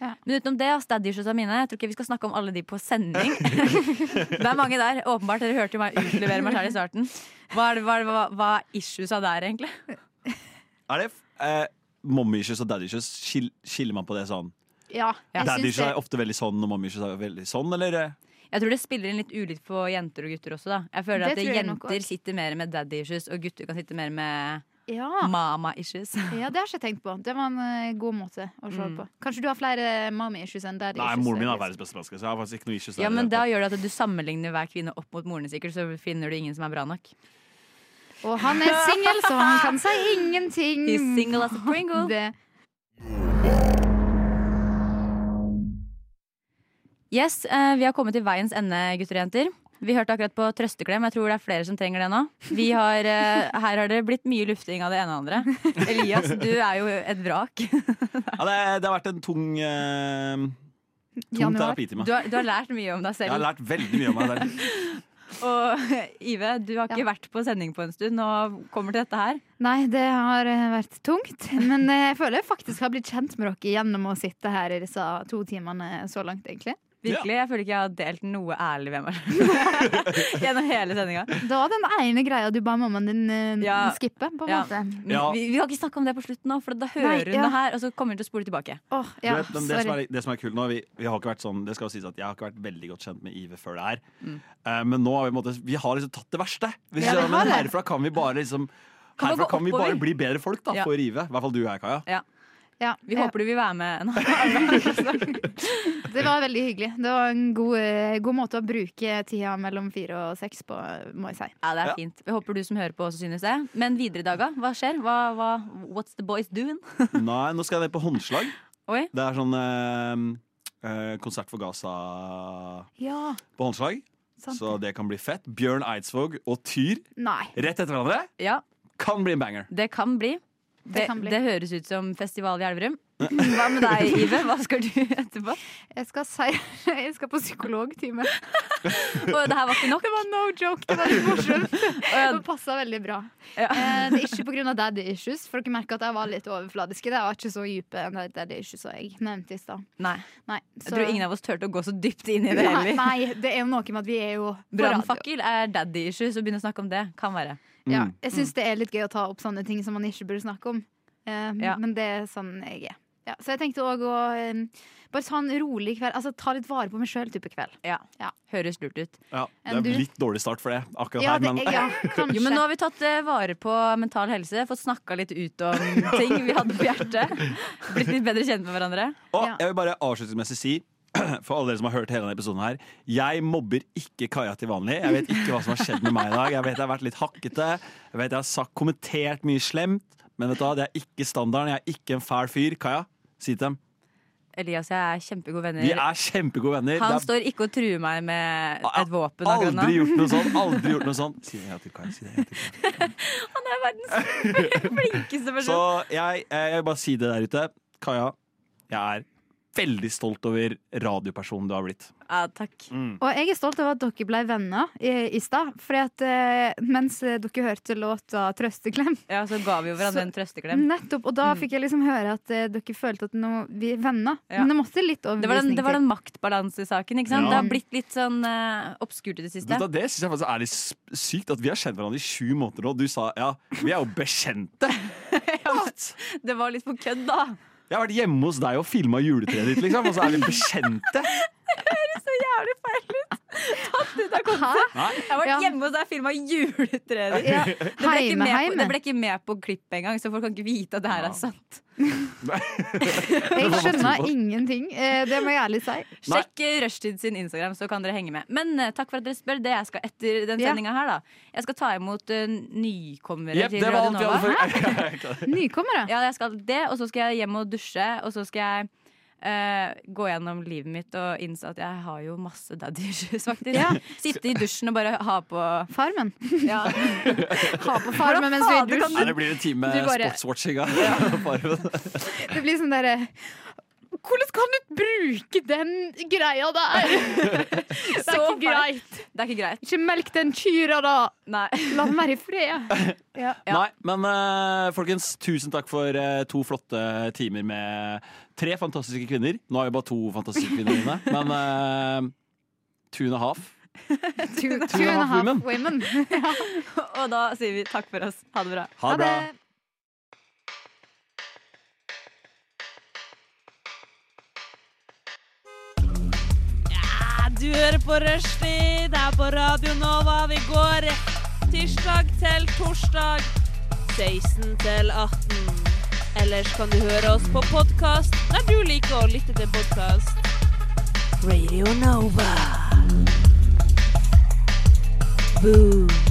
E: Ja. Men utenom det, ass, daddy issues er mine. Jeg tror ikke vi skal snakke om alle de på sending. det er mange der. Åpenbart. Dere hørte jo meg utlevere meg selv i starten. Hva er, det- hva, er det- hva, hva er issuesa der, egentlig?
G: Er det eh, mommy issues og daddy issues? Skil, skiller man på det sånn?
H: Ja, jeg
G: Daddy
H: syns
G: issues er
H: det.
G: ofte veldig sånn, og mommy issues er veldig sånn, eller? eh?
E: Jeg tror det spiller inn litt ulikt på jenter og gutter også, da. Jeg føler
H: Det
E: at
H: tror jeg nok
E: jenter
H: også.
E: sitter mer med daddy issues, og gutter kan sitte mer med
H: Ja.
E: mama issues.
H: ja, det har jeg ikke tenkt på. Det var en eh, god måte å se
E: Mm.
H: på. Kanskje du har flere mommy issues enn daddy
G: Nei,
H: issues?
G: moren min er
H: Elias.
G: verdens beste menneske, så jeg har faktisk ikke noe issues.
E: Ja,
G: der i
E: men
G: det
E: da
G: hele
E: gjør det at du sammenligner hver kvinne opp mot moren sikkert, så finner du ingen som er bra nok.
H: Og han er singel, så han kan si ingenting.
E: He's single as a Pringle.
H: Mm. Det.
E: Yes, eh, vi har kommet til veiens ende, gutter og jenter. Vi hørte akkurat på trøsteklem. Jeg tror det er flere som trenger det nå. Vi har, eh, her har det blitt mye lufting av det ene og andre. Elias, du er jo et vrak.
G: tatt. Ja, det, det har vært en tung, eh, tung
E: Januar.
G: terapitime.
E: Du har, du har lært mye om deg
G: Jeg
E: selv.
G: har lært veldig mye om meg der.
E: Og Ive, du har ikke vært på sending på en stund og kommer til dette her.
H: Nei, det har eh, vært tungt. Men eh, jeg føler jeg faktisk har blitt kjent med dere gjennom å sitte her i disse to timene så langt, egentlig.
E: Virkelig, Jeg føler ikke jeg har delt noe ærlig med meg gjennom hele sendinga.
H: Det var den ene greia du ba mammaen din eh,
E: Ja.
H: skippe, på en
E: Ja.
H: måte.
E: Men Vi, vi kan ikke snakke om det på slutten nå, for da hører
H: Nei,
E: hun
H: ja.
E: det her, og så kommer hun til å spole tilbake.
G: Du vet, men det, som er, det som er kult nå, vi, vi har ikke vært sånn, det skal jo sies at jeg har ikke vært veldig godt kjent med Ive før det her.
E: Mm.
G: Eh, men nå har vi, på en måte, vi har liksom tatt det verste. Hvis
E: Ja,
G: du
E: vi
G: skjønner,
E: har
G: men
E: det.
G: herfra kan vi bare liksom
E: Kan man
G: Herfra
E: gå
G: kan vi
E: oppover?
G: bare bli bedre folk da,
E: Ja.
G: for Ive. I hvert fall du og jeg, Kaja.
E: Ja. Vi
H: Ja.
E: håper du vil være med en
H: Det var veldig hyggelig. Det var en god, eh, god måte å bruke tida mellom fire og seks på, må jeg si.
E: Ja, det er
H: Ja.
E: fint. Vi håper du som hører på også synes det. Men videre i daga, hva skjer? Hva, hva, what's the boys doing?
G: Nei, nå skal jeg ned på håndslag.
E: Oi.
G: Det er sånn eh, eh, konsert for Gaza
H: Ja.
G: på håndslag.
H: Sant
G: Så det kan bli fett. Bjørn Eidsvåg og Tyr
H: Nei.
G: rett etter hverandre
E: Ja,
G: kan bli en banger.
E: det kan bli. Det, det,
H: kan bli.
E: høres ut som festival i Elverum. Hva med deg, Ive? Hva skal du etterpå?
H: Jeg skal, si, jeg skal på psykologtime.
E: Og det her var ikke nok?
H: Det var no joke. Det var litt morsomt. Det passa veldig bra. Eh, Det er ikke pga. daddy issues, for dere merker at jeg var litt overfladiske. Det var ikke så dype enn de daddy issues som jeg nevnte i stad.
E: Nei.
H: Nei,
E: Jeg tror ingen av oss turte å gå så dypt inn i det
H: nei,
E: heller.
H: nei, det er jo noe med at vi er jo på radio.
E: Brannfakkel er daddy issues, å begynne å snakke om det kan være.
H: Ja,
E: Mm,
H: jeg syns det er litt gøy å ta opp sånne ting som man ikke burde snakke om. Eh,
E: Ja.
H: Men det er sånn jeg er. Ja, så jeg tenkte òg å eh, bare ta en rolig kveld. Altså ta litt vare på meg sjøl-type kveld.
E: Ja. Høres lurt ut.
G: Ja,
H: Enn
G: det
H: du?
G: er litt dårlig start for det akkurat
H: Ja,
G: her,
H: det-
G: men
H: ja, kanskje.
E: Jo, men nå har vi tatt eh, vare på mental helse, fått snakka litt ut om ting vi hadde på hjertet. Blitt litt bedre kjent med hverandre.
G: Og jeg vil bare avslutningsmessig si for alle dere som har hørt hele denne episoden her. Jeg mobber ikke Kaja til vanlig. Jeg vet ikke hva som har skjedd med meg i dag. Jeg vet jeg har vært litt hakkete. Jeg vet jeg har sagt, kommentert mye slemt. Men vet du hva, det er ikke standarden. Jeg er ikke en fæl fyr. Kaja, si til dem.
E: Elias og jeg er kjempegode venner.
G: Vi er kjempegode venner.
E: Eh, Han
G: Det er-
E: står ikke og truer meg med et våpen. av grunn av.
G: Aldri gjort noe sånt. Aldri gjort noe sånt. Si det en gang til, Kaja. Si det en gang til.
E: Han er verdens flinkeste
G: Så
E: person.
G: jeg, eh, jeg vil bare si det der ute. Kaja, jeg er veldig stolt over radiopersonen du har blitt.
E: Ja, takk.
H: Og jeg er stolt over at dere ble venner i, i stad. Fordi at eh, mens dere hørte låta 'Trøsteklem',
E: Ja, så ga vi jo hverandre
H: Så- Mm,
E: en trøsteklem.
H: nettopp, og da
E: Mm.
H: fikk jeg liksom høre at eh, dere følte at nå, vi er venner.
E: Ja.
H: Men det måtte litt
E: Det var den,
H: overbevisning
E: det var den
H: til.
E: maktbalansesaken. ikke sant?
G: Ja.
E: Det har blitt litt sånn eh, obskurt i det siste.
G: Vet du hva, det synes jeg faktisk er litt s- sykt at vi har kjent hverandre i sju måneder nå. Du sa ja, vi er jo bekjente.
E: Det var litt på kødd, da.
G: Jeg har vært hjemme hos deg og filma juletreet ditt, liksom, og så er vi bekjente.
E: Det høres så jævlig feil ut! Tatt ut av kontekst.
G: Nei.
E: Jeg har vært hjemme hos deg og filma juletreet ditt.
G: Ja.
E: Det, ble ikke
G: Heime,
E: med på-
G: heime.
E: det ble ikke med på klippet engang, så folk kan ikke vite at det her er sant.
H: Jeg skjønner ingenting. eh, det må jeg ærlig si.
E: Sjekk eh, Rushtid sin Instagram, så kan dere henge med. Men eh, takk for at dere spør. Det jeg skal etter den
H: Ja.
E: sendinga her, da. Jeg skal ta imot eh, nykommere
G: Jepp,
E: til
G: det
E: Radio
G: var alt vi
E: Nova.
G: hadde for
H: Nykommere?
E: Ja, jeg skal det. Og så skal jeg hjem og dusje, og så skal jeg eh, gå gjennom livet mitt og innse at jeg har jo masse daddy issues, faktisk. Sitte i dusjen og bare ha på
H: Farmen.
E: Ja.
H: ha på
E: Hvordan
H: farmen mens vi er
E: faen
H: i
E: kan
H: dusj.
G: Nei, det blir en time
H: Du bare-
G: sportswatching av
H: Det blir sånn derre Hvordan kan du bruke den greia der? Det er
E: Så
H: ikke greit.
E: Det er ikke greit.
H: Ikke melk den kyra, da. La den være i fred.
G: Nei, men eh, folkens, tusen takk for eh, to flotte timer med tre fantastiske kvinner. Nå er jo bare to fantastiske kvinner inne, men eh, two and a half.
H: Two,
G: two and a half
H: women.
E: og da sier vi takk for oss. Ha det bra.
G: Ha det bra. Ha det.
O: Ja, du hører på Rushtid her på Radio Nova. Vi går tirsdag til torsdag 16 til 18. Ellers kan du høre oss på podkast når du liker å lytte til podkast. Radio Nova. Boom.